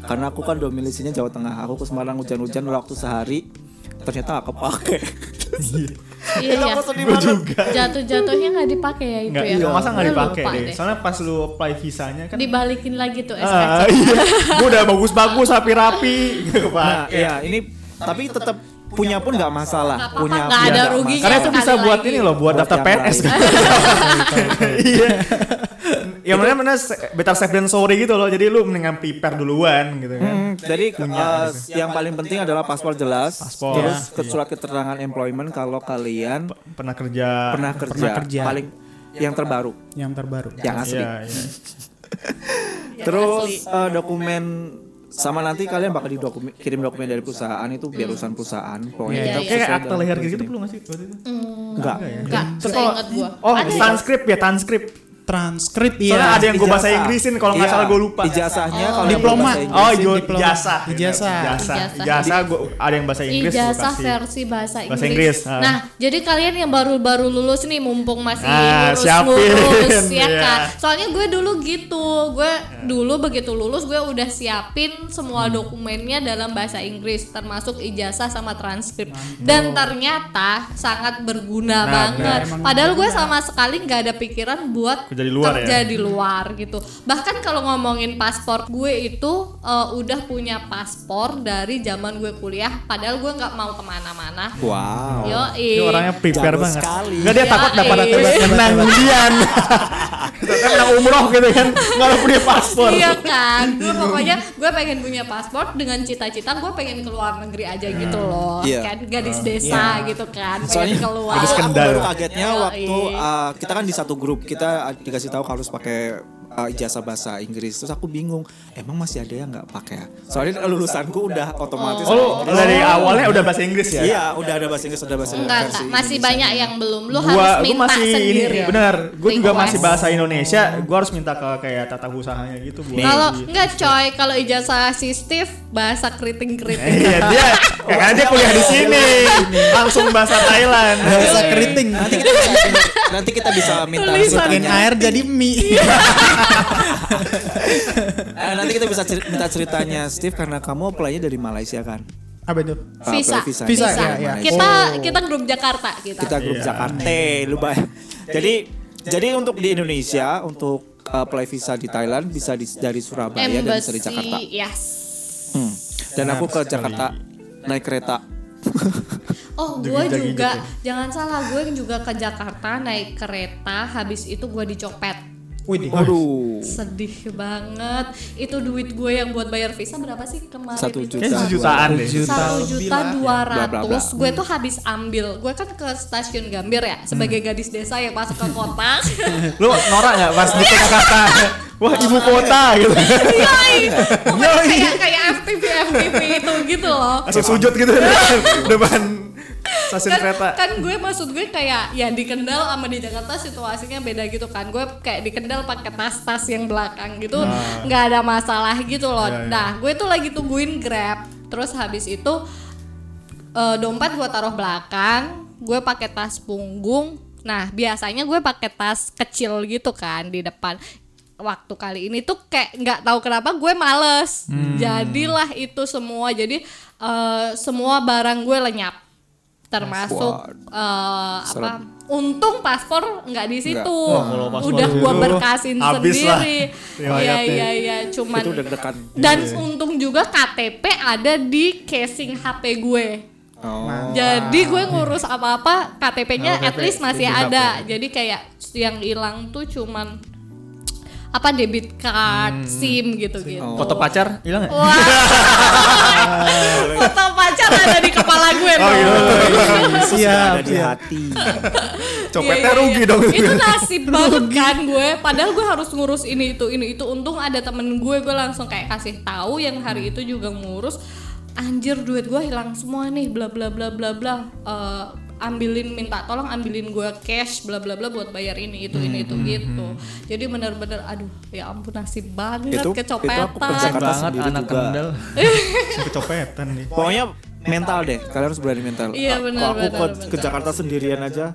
karena aku kan domisilinya Jawa Tengah aku ke Semarang hujan-hujan waktu sehari ternyata gak kepake
Iya
itu
iya.
aku sedih banget
Jatuh-jatuhnya nggak dipakai ya itu
Enggak,
ya.
iya, masa nggak
Gue
dipakai
lupa
deh. Soalnya pas lu apply visanya kan
Dibalikin lagi tuh
Ah,
SKC.
iya. Gua udah bagus-bagus, rapi-rapi. Gitu,
nah
Pak.
iya ini tapi tetap punya pun nggak masalah
apa-apa,
punya
nggak
pun
ada
nggak
ruginya.
Karena itu
Sekali
bisa buat
lagi.
ini loh, buat,
Buat
daftar
yang
PNS.
lain.
Iya. ya mana mana better safe than sorry gitu loh. Jadi lu mendingan prepare duluan gitu
Hmm,
kan.
jadi eh, yang paling penting adalah paspor jelas
Paspor. Iya.
terus ke surat keterangan employment kalau kalian
Pernah kerja.
pernah kerja,
kerja.
paling yang terbaru
Yang terbaru.
yang asli
Iya, iya.
Terus eh, dokumen sama nanti kalian bakal didokum- kirim dokumen dari perusahaan itu biar urusan perusahaan. Pokoknya
Iya,
kita
Kayak
sesuai
akta
dalam
leher
tulis
gitu
ini.
perlu nggak sih waktu itu?
Enggak.
Enggak,
Terus kalau-
seinget gua.
Oh,
Ada ya?
transkrip ya, transkrip.
Transkrip iya.
Soalnya ada yang gua bahasa
Ijazah.
Inggrisin kalau nggak
Iya,
salah gua lupa.
Ijazahnya kalau
Diploma.
bahasa Inggris.
Oh,
Inggrisin,
jo-
diploma.
ijazah.
Ijazah.
Ijazah.
Ijazah.
Ijazah gua ada yang bahasa Inggris gua
Ijazah
kasih.
versi bahasa Inggris.
Bahasa Inggris, ah.
Nah, jadi kalian yang baru-baru lulus nih mumpung masih
Ah,
lulus-lulus
siapin,
ya kan.
iya.
Soalnya gue dulu gitu. Gue
Hmm.
dulu begitu lulus gue udah siapin semua dokumennya dalam bahasa Inggris termasuk ijazah sama transkrip. Dan ternyata sangat berguna
Nah,
banget. Padahal gue sama sekali nggak ada pikiran buat
Kerja di luar
kerja
ya?
di luar gitu. Bahkan kalau ngomongin paspor gue itu eh, udah punya paspor dari zaman gue kuliah. Padahal gue nggak mau kemana-mana.
Wow.
Yo,
Oh, Ini orangnya prepare
Jago
banget.
sekali.
Enggak dia
Iya,
takut dapat
iya.
menang ujian. Ternyata pernah umroh gitu kan nggak punya paspor
iya kan gue pokoknya gue pengen punya paspor dengan cita-cita gue pengen keluar negeri aja gitu loh
Iya.
kan gadis desa gitu kan pengen keluar
gadis
aku
Kendal.
baru kagetnya
Yoi.
waktu uh, kita kan di satu grup kita dikasih tahu harus pakai uh, ijazah bahasa Inggris terus aku bingung emang masih ada yang nggak pakai ya? soalnya lulusanku udah otomatis
oh lu dari awalnya udah bahasa Inggris ya
iya udah ada bahasa Inggris udah bahasa
Enggak,
versi
Kak. masih
Inggris.
banyak yang belum. Lu
gua
harus
gua
minta
masih
sendiri.
ini benar gua juga
Request.
masih bahasa Indonesia gua harus minta ke kayak tata usahanya gitu gua
Kalau enggak coy, kalau ijazah si Steve bahasa keriting-keriting.
iya dia karena dia kuliah di sini langsung bahasa Thailand
Bahasa keriting.
nanti kita bisa, nanti kita bisa minta
Tulisan.
Iya.
Bikin
ceritanya
air jadi mie.
Eh, nanti kita bisa ceri- minta ceritanya Steve karena kamu apply-nya dari Malaysia kan
Apa itu?
Uh, apply
Visa. iya,
visa,
Visa,
dari
ya, ya.
Malaysia.
Kita
Oh.
kita grup Jakarta kita.
kita grup
Iya.
Jakarta lu bay- jadi jadi untuk di Indonesia untuk uh, apply visa di Thailand bisa di- dari Surabaya dan bisa
Embassy.
Ya, dari Jakarta
Yes.
Hmm. dan aku ke Jakarta naik kereta
Oh, gue
Joget-joget
juga
gitu
jangan salah, gue juga ke Jakarta naik kereta, habis itu gue dicopet.
Widih.
waduh
Sedih banget. Itu duit gue yang buat bayar visa berapa sih kemarin?
Satu juta.
itu?
kayaknya sejutaan deh
satu juta dua
Bla, bla, bla.
ratus gue tuh habis ambil gue kan ke stasiun Gambir ya sebagai gadis desa yang masuk ke kota
lu norak nggak pas di Jakarta wah ibu kota gitu
yoi Pokoknya kayak kayak FTV FTV itu gitu loh
langsung sujud gitu depan stasiun
kan,
kereta
kan gue maksud gue kayak ya di Kendal sama di Jakarta situasinya beda gitu kan gue kayak di Kendal pakai tas-tas yang belakang gitu nggak ada masalah gitu loh
Iya, iya.
nah gue tuh lagi tungguin grab terus habis itu eh, dompet gue taruh belakang gue pakai tas punggung nah biasanya gue pakai tas kecil gitu kan di depan waktu kali ini tuh kayak nggak tahu kenapa gue males jadilah itu semua jadi eh, semua barang gue lenyap termasuk eh, apa
Serem.
untung paspor nggak di situ
Wah,
kalau paspor
udah
di
gua
situ,
berkasin
habis lah
sendiri iya
riwayatnya.
iya iya cuman
itu deg-degan
dan
Iya.
untung juga KTP ada di casing HP gue
oh.
jadi gue ngurus apa-apa KTP-nya
Oh,
at least
KTP.
masih
Di HP.
ada jadi kayak yang hilang tuh cuman apa debit card SIM gitu gitu
Hmm. Oh. foto pacar hilang nggak
Wah. foto pacar ada di kepala
Oh,
gue dong.
iya.
ada
Siap.
di
siap.
hati
copetnya
Iya, iya,
rugi
iya.
dong
Itu nasib banget kan gue. Padahal gue harus ngurus ini itu ini itu. Untung ada temen gue, gue langsung kayak kasih tahu yang hari itu juga ngurus. Anjir duit gue hilang semua nih, bla bla bla bla bla. Eh, ambilin minta tolong ambilin gue cash bla bla bla buat bayar ini itu ini
Hmm,
itu gitu. Jadi bener-bener aduh ya ampun nasib banget
Itu- itu aku
kecopetan.
ke Jakarta sendiri juga.
kecopetan nih
pokoknya mental deh kalian harus berani mental
Iya,
Kalau
benar,
aku
benar,
ke-
benar.
ke Jakarta sendirian aja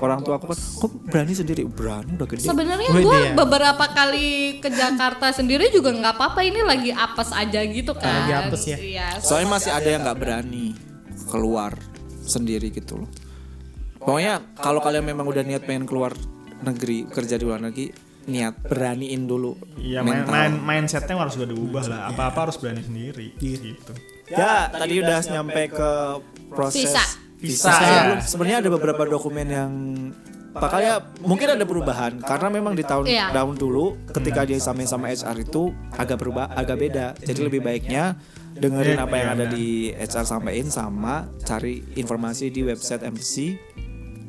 orang tua aku kan kok berani sendiri berani udah gede
Sebenarnya
Gue
gue
dia.
beberapa kali ke Jakarta sendiri juga nggak apa-apa ini lagi apes aja gitu kan.
Lagi apes ya.
Iya.
Soalnya masih ada yang nggak berani keluar sendiri gitu loh. Pokoknya kalau kalian memang udah niat pengen keluar negeri kerja di luar negeri, niat beraniin dulu
Iya main,
mental.
main mindsetnya harus udah diubah lah. Apa-apa harus berani sendiri.
Iya.
Gitu.
Ya tadi udah nyampe ke proses
Visa.
visa.
Visa.
Lu- Sebenarnya ada beberapa dokumen yang Makanya mungkin ada perubahan karena memang di tahun
Iya.
tahun dulu ketika dia sama sama HR itu agak berubah agak beda. Jadi lebih baiknya dengerin apa yang ada di HR sampaikan sama cari informasi di website embassy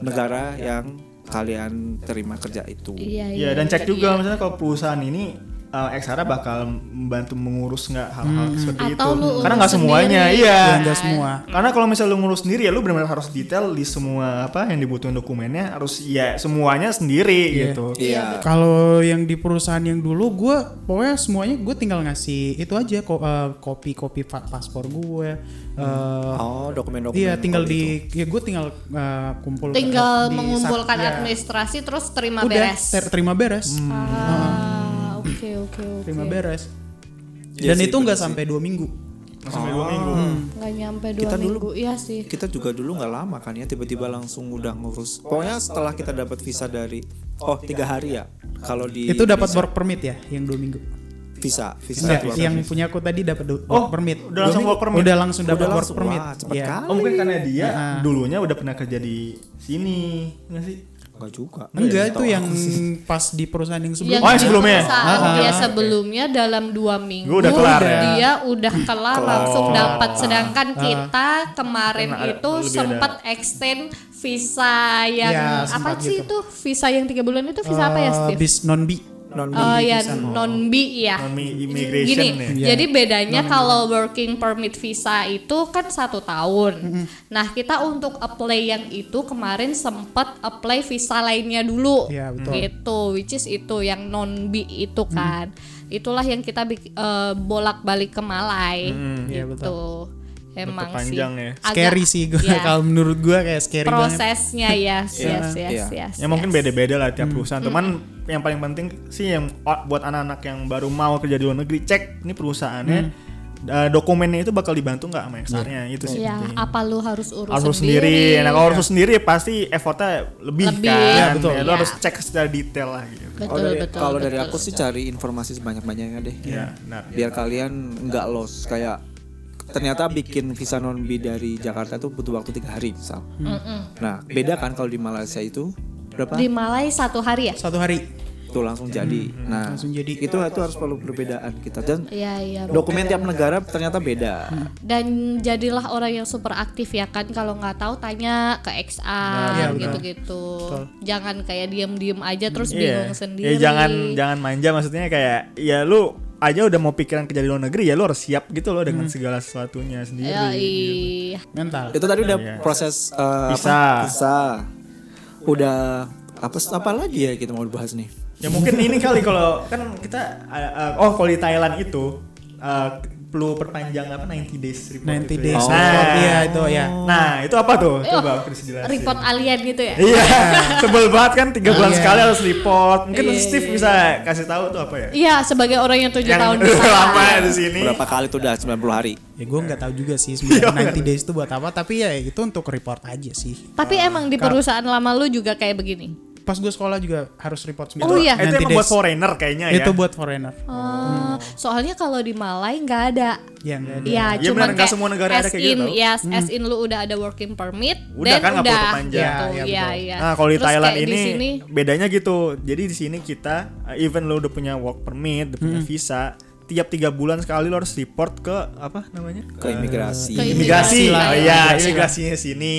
negara yang kalian terima kerja itu.
Iya,
Iya dan cek juga misalnya kalau perusahaan ini eh, XR bakal membantu mengurus nggak hal-hal seperti
Atau
itu.
lu
Karena
urus
nggak semuanya,
sendiri.
iya.
Ya, enggak semua.
Karena kalau misalnya lu ngurus sendiri ya lu benar-benar harus detail di semua apa yang dibutuhin dokumennya harus ya semuanya sendiri
Iya.
gitu.
Iya.
Kalau yang di perusahaan yang dulu gue pokoknya semuanya gue tinggal ngasih itu aja ko- eh, kopi-kopi pa- paspor gue. eh,
Oh, dokumen-dokumen.
Iya, tinggal
kalau itu.
di ya gue tinggal eh, kumpul
Tinggal
di sak-
mengumpulkan
ya.
administrasi terus terima
Udah,
beres.
ter- terima beres.
Hmm.
Ah, Oke oke oke.
Terima beres.
Iya
Dan
sih,
itu nggak
bener sih.
sampai dua minggu.
Sampai dua minggu.
Nggak nyampe dua
Kita dulu-
minggu iya sih.
kita juga dulu nggak lama kan ya tiba-tiba langsung udah ngurus pokoknya setelah kita dapat visa dari oh tiga hari ya kalau di
itu dapat
Indonesia.
work permit ya yang dua minggu.
visa visa
Enggak,
keluar.
yang punya aku tadi dapat du-
Oh,
work permit.
udah langsung
Dua
work
minggu.
permit?
Udah langsung
Udah
dapat work
langsung,
permit.
kan?
wah, cepet
Iya.
kali.
Oh mungkin karena dia dulunya udah gitu. pernah kerja di sini, nggak sih?
Enggak juga. Iya,
Enggak itu yang pas di perusahaan yang sebelum.
Yang
Oh, yang sebelumnya?
di perusahaan
Ah, ah,
dia
oke.
sebelumnya dalam dua minggu
Gua udah kelar ya.
dia udah kelar langsung
Oh.
dapat sedangkan kita kemarin
Karena ada-
itu
lebih ada-
sempat extend visa yang
Ya,
apa
sempat
sih
gitu.
itu visa yang tiga bulan itu visa apa ya
Eh,
Steve?
Bis non bi.
Non
Oh ya non bi ya.
non
Gini,
immigration ya
Iya.
jadi bedanya kalau working permit visa itu kan satu tahun. Nah kita untuk apply yang itu kemarin sempat apply visa lainnya dulu,
Iya, betul.
gitu. Which is itu yang non B itu kan, itulah yang kita bik- eh, bolak-balik ke Malai,
iya,
gitu. Emang
Tetep
sih
panjang ya.
agak-
Scary sih gue
ya,
kalau menurut gue kayak scary banget.
prosesnya ya, yes,
Iya,
yes, yes,
iya.
yes,
ya mungkin
yes. Hmm.
beda-beda lah tiap perusahaan teman yang paling penting sih yang o- buat anak-anak yang baru mau kerja di luar negeri cek ini perusahaannya
Hmm.
eh, dokumennya itu bakal dibantu nggak sama HR-nya itu sih
Ya,
penting.
apa lu harus urus
harus urus sendiri. Nah, kalau harus urus sendiri pasti effortnya lebih,
Lebih.
kan.
Iya,
betul.
Ya, lo
Iya.
harus cek secara detail lah gitu.
Betul,
Oh, dari-
betul,
kalau dari
betul,
aku sih
betul.
cari informasi sebanyak-banyaknya deh.
Iya, benar.
Biar kalian nggak lost kayak ternyata bikin visa non B dari Jakarta itu butuh waktu tiga hari misal.
Mm-mm.
Nah beda kan kalau di Malaysia itu berapa?
di Malai satu hari ya?
Satu hari.
Tuh langsung jadi. Nah
Hmm, Langsung jadi.
itu itu harus perlu perbedaan kita dan
Iya iya.
dokumen tiap negara ternyata beda.
Dan jadilah orang yang super aktif ya kan kalau nggak tahu tanya ke
Nah,
Iya,
XR
benar.
gitu-gitu. Jangan kayak diem-diem aja terus
Iya.
bingung
Ya
sendiri.
jangan jangan manja maksudnya kayak ya lu aja udah mau pikiran kerja di luar negeri ya lu harus siap gitu loh
Hmm.
dengan segala sesuatunya sendiri.
Ya, ih.
Mental.
Itu tadi udah
Iya.
proses eh,
Visa.
Apa? visa. Udah apa apa lagi ya kita mau bahas nih?
Ya mungkin ini kali kalau kan kita uh, uh, oh kalau di Thailand itu uh, perlu perpanjang apa 90 days report
90
itu
days.
ya.
Report,
Nah,
iya, itu ya.
Nah, itu apa tuh?
Eh,
Coba
oh,
Chris jelasin.
report alien gitu ya.
Iya, sebel banget kan tiga bulan
Iya.
sekali harus report. Mungkin
Iya,
Steve
iya,
bisa kasih tahu tuh apa ya?
Iya, sebagai orang yang tujuh
Yang
tahun di sana.
lama di sini.
Berapa kali tuh udah 90 hari?
Ya gue nggak tahu juga sih
Iya,
sebenarnya
kan?
90 days itu buat apa. Tapi ya itu untuk report aja sih.
Tapi emang di perusahaan lama lu juga kayak begini.
Pas gue sekolah juga harus report semua.
Oh iya.
Eh, Itu
90
emang buat
days.
foreigner kayaknya ya.
Itu buat foreigner.
Oh, soalnya kalau di Malai nggak ada.
Ya, nggak ada.
Ya,
Iya, benar,
cuman
nggak
kayak
semua negara ada
as
kayak
in,
gitu tau.
yes, as in lu udah ada working permit, then
Udah kan, nggak perlu
udah,
perpanjang.
gitu.
Iya,
Iya,
betul.
iya.
Nah, kalau di
Terus
Thailand
kayak
ini
di sini,
bedanya gitu. Jadi di sini kita uh, even lo udah punya work permit, udah
Hmm.
punya visa, tiap tiga bulan sekali lo harus report ke apa namanya?
Ke imigrasi.
ke Imigrasi
Imigrasi.
lah Hmm.
Oh
ya.
iya, imigrasinya sini.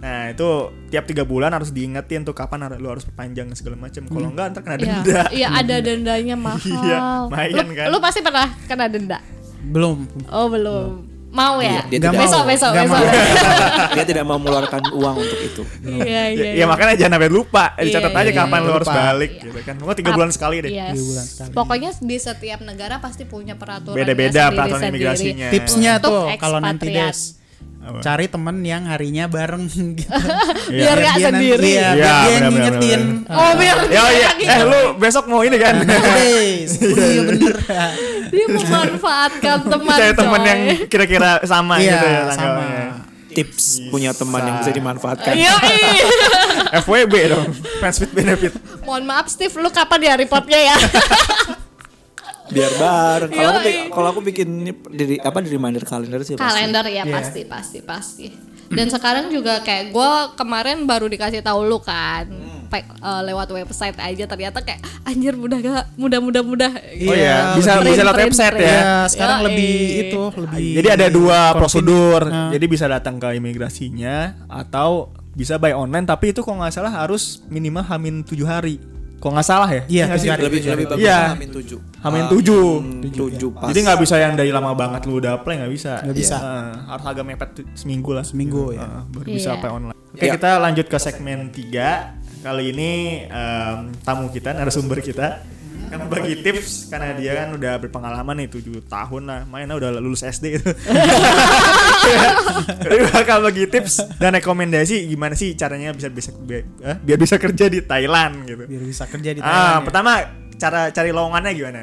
Nah, itu tiap tiga bulan harus diingetin tuh kapan har- lo harus perpanjang segala macam. Kalau enggak ntar
Iya,
kena denda.
Iya, ada dendanya
Iya,
mahal.
lumayan
lu,
kan.
lu pasti pernah kena denda.
Belum.
Oh, belum. Mau
Iya,
ya?
dia
tidak
besok,
mau.
besok,
Nggak
besok.
Dia tidak mau mengeluarkan uang untuk itu.
Iya,
Ya,
iya.
ya makanya jangan sampai lupa. Eh, Dicatat
Iya,
aja
iya,
kapan
iya.
lo harus
Lupa.
balik gitu kan. Pokoknya tiga bulan sekali deh.
Yes.
Tiga bulan sekali.
Pokoknya di setiap negara pasti punya peraturan
Beda-beda peraturan imigrasinya.
Tipsnya
Iya. Untuk
tuh kalau 90
ekspatriat.
days. Cari temen yang harinya bareng gitu.
Biar
Biar
nggak
dia nanti-
sendiri.
Iya,
Iya,
biar dia yang
benar, benar,
ngingetin.
Oh, biar
Ya oh, iya.
dia-
Eh lu besok mau ini kan?
Days. Oh, Iya bener.
dia memanfaatkan teman.
Cari teman
coy.
yang kira-kira sama
Iya,
gitu ya
sama.
tanggalnya.
Tips punya teman yang bisa dimanfaatkan.
Iya. Yoi.
FWB dong. Friends with benefit.
Mohon maaf Steve, lu kapan ya reportnya ya?
biar bareng. Kalau aku,
Yoi.
bi- kalau aku bikin ini diri apa di reminder kalender sih pasti.
Kalender ya
Iya.
pasti pasti pasti. Dan sekarang juga kayak gue kemarin baru dikasih tahu lu kan
Hmm.
pe- eh, lewat website aja ternyata kayak anjir mudah gak mudah mudah mudah.
Oh iya,
Iya,
bisa
print,
bisa lewat
print,
website
print.
ya.
Ya, sekarang
Yoi.
lebih itu lebih
Jadi ada dua
confident.
prosedur.
Nah.
Jadi bisa datang ke imigrasinya atau bisa by online tapi itu kalau nggak salah harus minimal hamin 7 hari. Kalau nggak salah ya?
Iya,
nggak sih?
tujuh hari.
Lebih lebih bagus
Iya.
Hamin 7.
Hamin
Ah,
7.
tujuh pas.
ya. Jadi nggak bisa yang dari lama banget lu udah apply nggak bisa.
Nggak bisa.
Heeh, harus agak mepet tu- seminggu lah.
Seminggu, ya.
Heeh, baru bisa
Iya.
apply online. Oke
Iya.
kita lanjut ke segmen 3 Kali ini em, tamu kita narasumber kita akan berbagi tips karena dia kan udah berpengalaman nih 7 tahun lah mainnya udah lulus SD itu Jadi bakal bagi tips dan rekomendasi gimana sih caranya bisa bisa biar, eh, biar bisa kerja di Thailand gitu.
biar bisa kerja di
ah,
Thailand. ya.
pertama cara cari lowongannya gimana?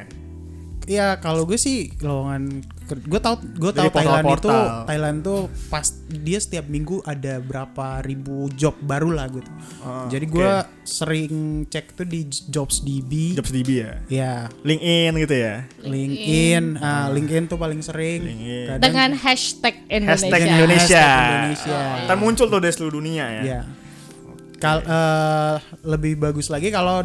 Iya kalau gue sih lowongan gue tau gue
Dari
tau Thailand itu
portal-portal.
Thailand tuh pas dia setiap minggu ada berapa ribu job baru lah gitu.
Oh,
Jadi
oke.
gue sering cek tuh di JobsDB.
JobsDB ya.
Ya
LinkedIn gitu ya.
LinkedIn, ah, LinkedIn tuh paling sering.
Hmm. LinkedIn.
Kadang-
Dengan hashtag Indonesia.
Hashtag Indonesia. Oh,
Hashtag Indonesia.
Ntar muncul tuh dari seluruh dunia ya.
Ya. Kal- eh, lebih bagus lagi kalau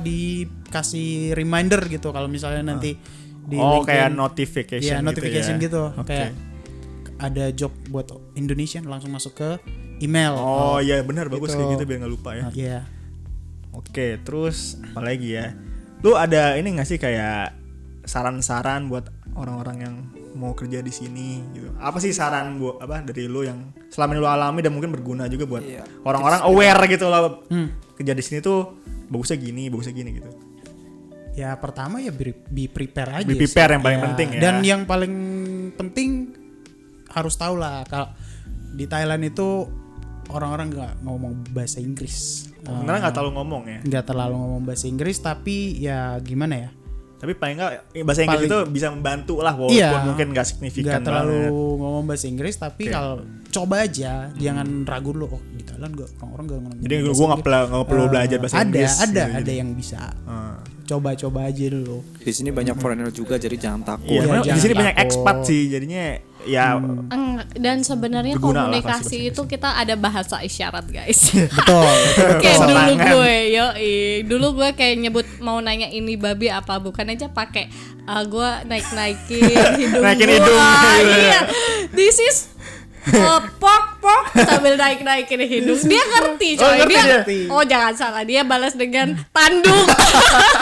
dikasih reminder gitu kalau misalnya nanti di
oh
LinkedIn.
kayak notification
Iya, notification
gitu,
gitu,
ya. Oke.
kayak ada job buat Indonesia langsung masuk ke email
oh iya benar bagus
gitu.
kayak gitu biar nggak lupa ya
Nah, iya
Oke, terus apa lagi ya? Lu ada ini nggak sih kayak saran-saran buat orang-orang yang mau kerja di sini gitu. Apa sih saran bu apa dari lu yang selama ini lu alami dan mungkin berguna juga buat
Iya.
orang-orang aware gitu loh.
Hmm.
Kerja di sini tuh bagusnya gini, bagusnya gini gitu.
ya pertama ya be, be prepare aja
Be
sih. Iya.
prepare yang paling penting ya.
dan yang paling penting harus tahu lah kalau di Thailand itu orang-orang nggak ngomong bahasa Inggris
Sebenarnya
Ah.
nggak terlalu ngomong ya.
nggak terlalu ngomong bahasa Inggris tapi ya gimana ya
Tapi paling nggak eh, bahasa Inggris itu
Paling-
bisa membantu lah walaupun
Iya.
mungkin nggak
nggak
signifikan
terlalu
banget.
ngomong bahasa Inggris tapi
Oke. Hmm.
kalau coba aja jangan ragu lo oh di Thailand gak orang-orang gak ngomong
Jadi
bahasa
gue nggak
Inggris."
perlu nggak perlu
Eh,
belajar bahasa
ada,
Inggris.
ada
gitu.
ada ya. yang bisa
Eh.
coba-coba aja dulu
Di sini banyak foreigner juga jadi jangan takut.
Iya,
Iya,
memang di
jangan
sini banyak
takut. Hmm.
ekspat sih, jadinya ya
Eng- dan sebenarnya
Berguna lah pasti
komunikasi
bahasa
itu kita ada bahasa isyarat guys
betul
kayak
Bahasa
dulu
tangan.
gue yoi dulu gue kayak nyebut mau nanya ini babi apa bukan aja pakai ah, gue naik naikin hidung
Naikin
gua.
hidung, gitu ya.
iya this is uh, pok pok sambil naik naikin hidung dia ngerti
Oh,
coy
ngerti
dia,
dia.
oh jangan salah dia balas dengan tanduk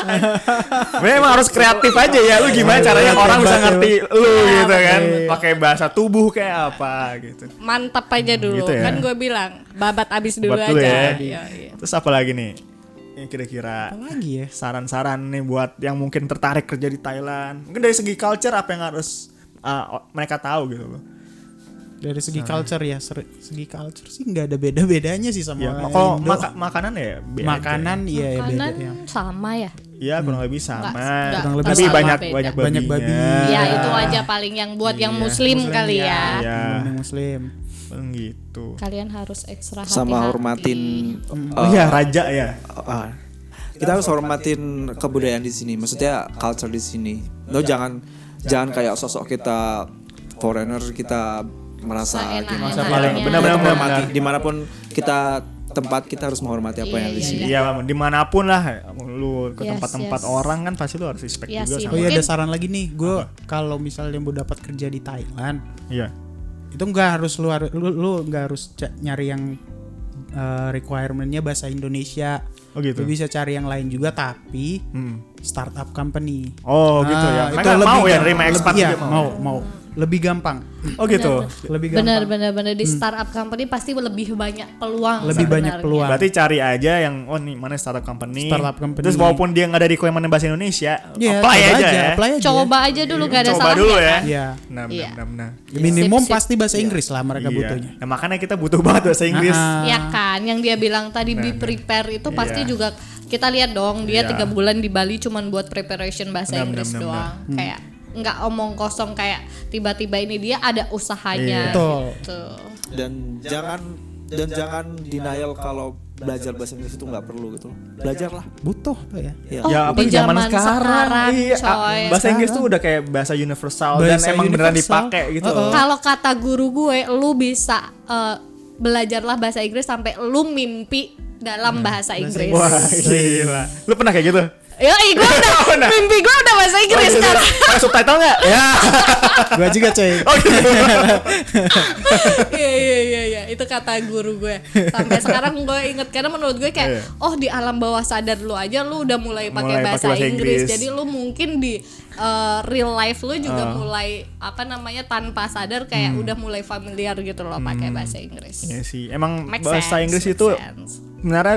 memang harus kreatif aja ya. Lu
Iya,
gimana caranya orang bisa ngerti lu
Ah,
gitu kan? Pakai bahasa tubuh kayak apa gitu.
mantap aja dulu
Gitu ya.
kan gue bilang babat abis dulu
Buat lu
aja
ya.
iya,
Yoi.
Terus apa lagi nih? Ini kira-kira
Apa lagi ya
saran-saran nih buat yang mungkin tertarik kerja di Thailand. Mungkin dari segi culture apa yang harus uh, mereka tahu gitu loh.
dari segi culture ya ser- segi culture sih nggak ada beda-bedanya sih
Ya,
sama orang
kalau
Indo.
maka- makanan ya beda.
makanan iya ya beda
kanan
ya.
sama ya
Ya kurang lebih sama.
Nggak- nggak
Kurang lebih
Tapi
sama,
banyak
beda.
banyak
Banyak
babinya.
babi.
ya itu aja paling yang buat yang muslim, kali ya.
Iya.
Makanan muslim
Paling gitu.
kalian harus ekstra
Sama
hati-hati.
hormatin
Mm.
Oh
eh,
iya raja ya.
Ah. kita harus hormatin kebudayaan di sini maksudnya culture di sini lo jangan jangan kayak sosok kita foreigner kita merasa
Seenak-enaknya.
gini.
Merasa paling-
Kita
benar-benar
menghormati
benar.
dimanapun kita tempat kita harus menghormati apa yang ada di sini
Iya, Mam. dimanapun lah lu ke
Yes,
tempat-tempat
yes.
orang kan pasti lu harus respect
Iya
juga
sih.
sama.
oh iya ada
Mungkin-
saran lagi nih gue kalau misalnya mau dapat kerja di Thailand
Iya.
itu nggak harus lu haru- lu lu nggak harus ca- nyari yang eh, requirementnya bahasa Indonesia
Oh gitu.
lu bisa cari yang lain juga tapi
Hmm.
startup company
Oh gitu ya.
Ah,
Mereka mau ya nerima ekspat
lebih-
juga
iya,
mau.
mau mau lebih gampang
Oh gitu.
lebih gampang
benar benar benar di startup company pasti lebih banyak peluang
Lebih
sebenarnya.
banyak peluang.
Berarti cari aja yang oh nih mana startup company.
Startup company.
Terus walaupun dia nggak ada requirement bahasa Indonesia,
Iya,
apply
coba
aja, ya.
apply aja.
coba aja dulu gak ada
Coba
salahnya
dulu ya.
kan?
Iya.
Nah,
Iya.
benar, benar, benar.
minimum
Sip, sip.
pasti bahasa Inggris lah mereka
Iya.
butuhnya
Nah, makanya kita butuh banget bahasa Inggris.
Ah,
ya kan yang dia bilang tadi be prepare itu pasti
Iya.
juga kita lihat dong dia
Iya.
tiga bulan di Bali cuman buat preparation bahasa
Benar,
Inggris
benar, benar,
doang kayak nggak omong kosong kayak tiba-tiba ini dia ada usahanya
Iya.
Betul.
gitu
dan jangan dan jangan denial kalau belajar bahasa Inggris itu nggak perlu gitu belajarlah
butuh tuh ya
Iya.
Oh,
ya apa
di
sih, zaman
zaman
sekarang,
sekarang,
iya, ah,
coy.
bahasa Inggris tuh udah kayak bahasa universal dan
Bahasa
emang beneran
universal.
dipakai gitu.
Oh, oh.
Kalau kata guru gue, lu bisa eh, belajarlah bahasa Inggris sampai lu mimpi
Hmm.
dalam bahasa Inggris.
Wah
iya.
gila. Lu pernah kayak gitu?
Yoi, gue udah
Oh, nah.
mimpi gue udah bahasa Inggris
gitu.
kan.
Pakai subtitle nggak? Ya.
gua juga coy
Oh gitu.
Iya iya iya iya, itu kata guru gue. Sampai sekarang gue inget karena menurut gue
Iya.
kayak oh di alam bawah sadar lu aja lu udah mulai
Mulai
pakai
pakai
bahasa,
bahasa
Inggris.
Inggris.
Jadi lu mungkin di eh, real life lu juga mulai apa namanya tanpa sadar kayak udah mulai familiar gitu loh pakai bahasa Inggris.
Hmm. Iya sih. Emang
Make
bahasa
sense,
Inggris
make
itu
sense.
sebenarnya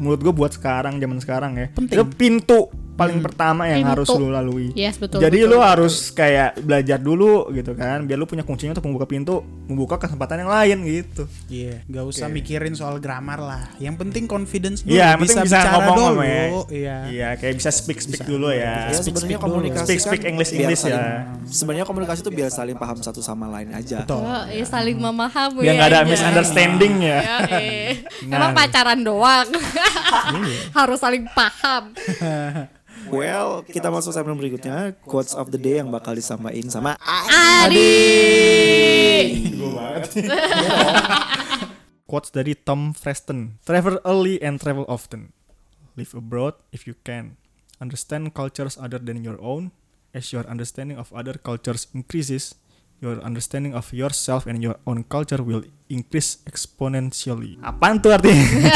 menurut gue buat sekarang zaman sekarang ya. Itu pintu paling pertama yang
Hmm. Pintu.
harus lu lalui.
Yes, betul,
Jadi
betul,
lu harus kayak belajar dulu gitu kan, biar lu punya kuncinya untuk membuka pintu, membuka kesempatan yang lain gitu.
Iya, nggak usah mikirin soal grammar lah. Yang penting confidence dulu,
Iya, yang penting bisa
bicara
ngomong
dulu.
sama ya.
Iya.
Iya, kayak bisa speak speak dulu ya.
Ya, sebenarnya
dulu.
komunikasi
Speak-
kan
speak English-
biar
English
saling-
ya.
sebenarnya komunikasi itu biar saling paham satu sama lain aja
Betul.
Oh, ya saling memahami
iya. Hmm. Biar nggak ada
aja.
misunderstanding ya.
Ya, eh.
Nah. Iya.
Emang pacaran doang. Harus saling paham.
Well, kita masuk segmen berikutnya Quotes of the day yang bakal disamain sama
Adi.
quotes dari Tom Freston. Travel early and travel often. Live abroad if you can. Understand cultures other than your own. As your understanding of other cultures increases, your understanding of yourself and your own culture will increase exponentially. Apaan tuh artinya?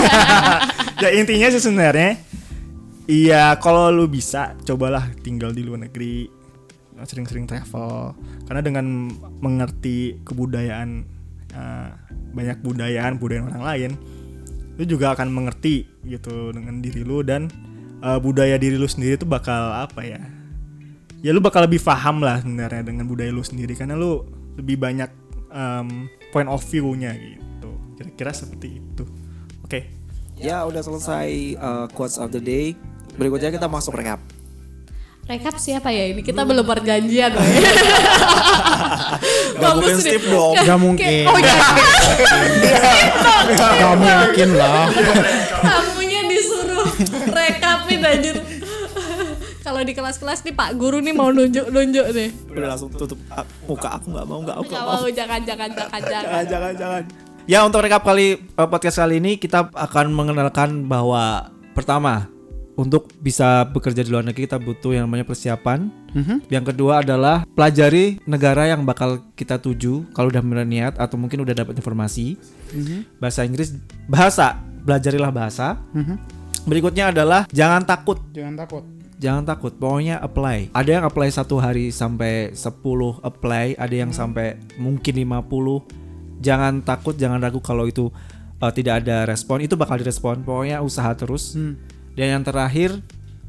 ya intinya sih sebenarnya Iya, kalau lu bisa, cobalah tinggal di luar negeri, sering-sering travel. Karena dengan mengerti kebudayaan eh, banyak budayaan budaya orang lain, lu juga akan mengerti gitu dengan diri lu dan eh, budaya diri lu sendiri tuh bakal apa ya? Ya lu bakal lebih paham lah sebenarnya dengan budaya lu sendiri karena lu lebih banyak em, point of view-nya gitu. Kira-kira seperti itu. Oke.
Ya udah selesai uh, quotes of the day. Berikutnya kita masuk recap.
Rekap siapa ya ini? Kita belum perjanjian loh ya.
Gak mungkin skip dong.
Gak mungkin.
Oh iya.
Gak mungkin lah.
Tamunya disuruh rekapin anjir. Kalau di kelas-kelas nih Pak Guru nih mau nunjuk-nunjuk nih.
Udah langsung tutup ah, muka aku nggak mau nggak aku nggak
Nggak
mau.
mau jangan jangan jangan jangan.
Jangan jangan jangan. Ya untuk recap kali eh, podcast kali ini kita akan mengenalkan bahwa pertama untuk bisa bekerja di luar negeri kita butuh yang namanya persiapan. Yang kedua adalah pelajari negara yang bakal kita tuju kalau udah mulai niat atau mungkin udah dapat informasi. Bahasa Inggris bahasa belajarilah bahasa. Berikutnya adalah jangan takut
Jangan takut.
Jangan takut, pokoknya apply. Ada yang apply satu hari sampai 10 apply, ada yang sampai mungkin 50. Jangan takut, jangan ragu kalau itu uh, tidak ada respon, itu bakal direspon. Pokoknya usaha terus. Dan yang terakhir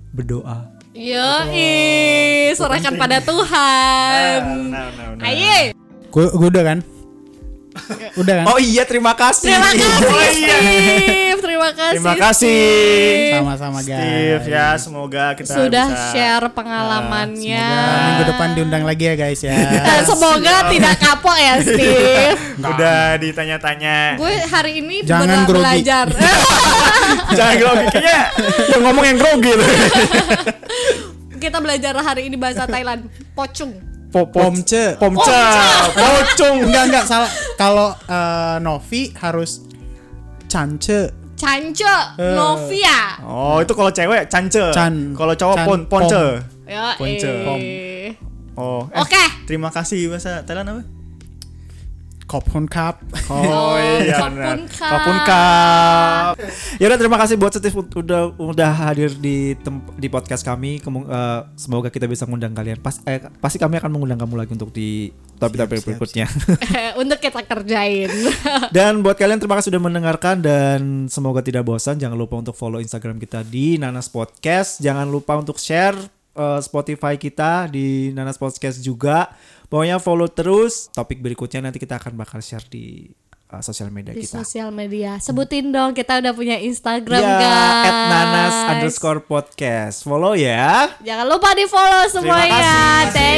berdoa.
Yoi, serahkan pada Tuhan.
Nah,
Aye.
Gue udah kan? Udah kan?
Oh iya, terima kasih. iya.
Terima kasih Steve, terima kasih.
Oh, iya. Terima kasih.
Sama-sama
Steve
guys.
ya semoga kita
Sudah
Nah, bisa
share pengalamannya.
Semoga Ya, minggu depan diundang lagi ya guys ya.
Dan semoga tidak kapok ya Steve.
udah ditanya-tanya
Gue hari ini benar
Jangan grogi.
belajar. Eh,
jangan gitu ya. grogi kayaknya yang ngomong yang grogi loh
Kita belajar hari ini bahasa Thailand, pocung.
Pomce.
pomca pocung
Enggak enggak salah. Kalau eh, Novi harus cance.
Cance, Novia.
oh itu kalau cewek cance
Can.
kalau cowok
Can.
pon ponce
Pom.
Ya,
Ponce. Pom.
eh.
oh eh,
Oke.
terima kasih bahasa Thailand apa
Kopon cup.
Oh,
iya
Kopun
benar
Kap.
Kopun Kap.
Ya udah terima kasih buat Steve ut- udah udah hadir di tem- di podcast kami. Kemu- eh, semoga kita bisa mengundang kalian. Pas eh, pasti kami akan mengundang kamu lagi untuk di topik-topik berikutnya.
Untuk kita kerjain.
Dan buat kalian terima kasih sudah mendengarkan dan semoga tidak bosan. Jangan lupa untuk follow Instagram kita di Nanas Podcast. Jangan lupa untuk share eh, Spotify kita di Nanas Podcast juga. Pokoknya follow terus. Topik berikutnya nanti kita akan bakal share di eh, sosial media
Di
kita.
sosial media. Sebutin dong, kita udah punya Instagram,
Ya,
guys.
at nanas underscore podcast. Follow ya.
Jangan lupa di follow semuanya.
kasih.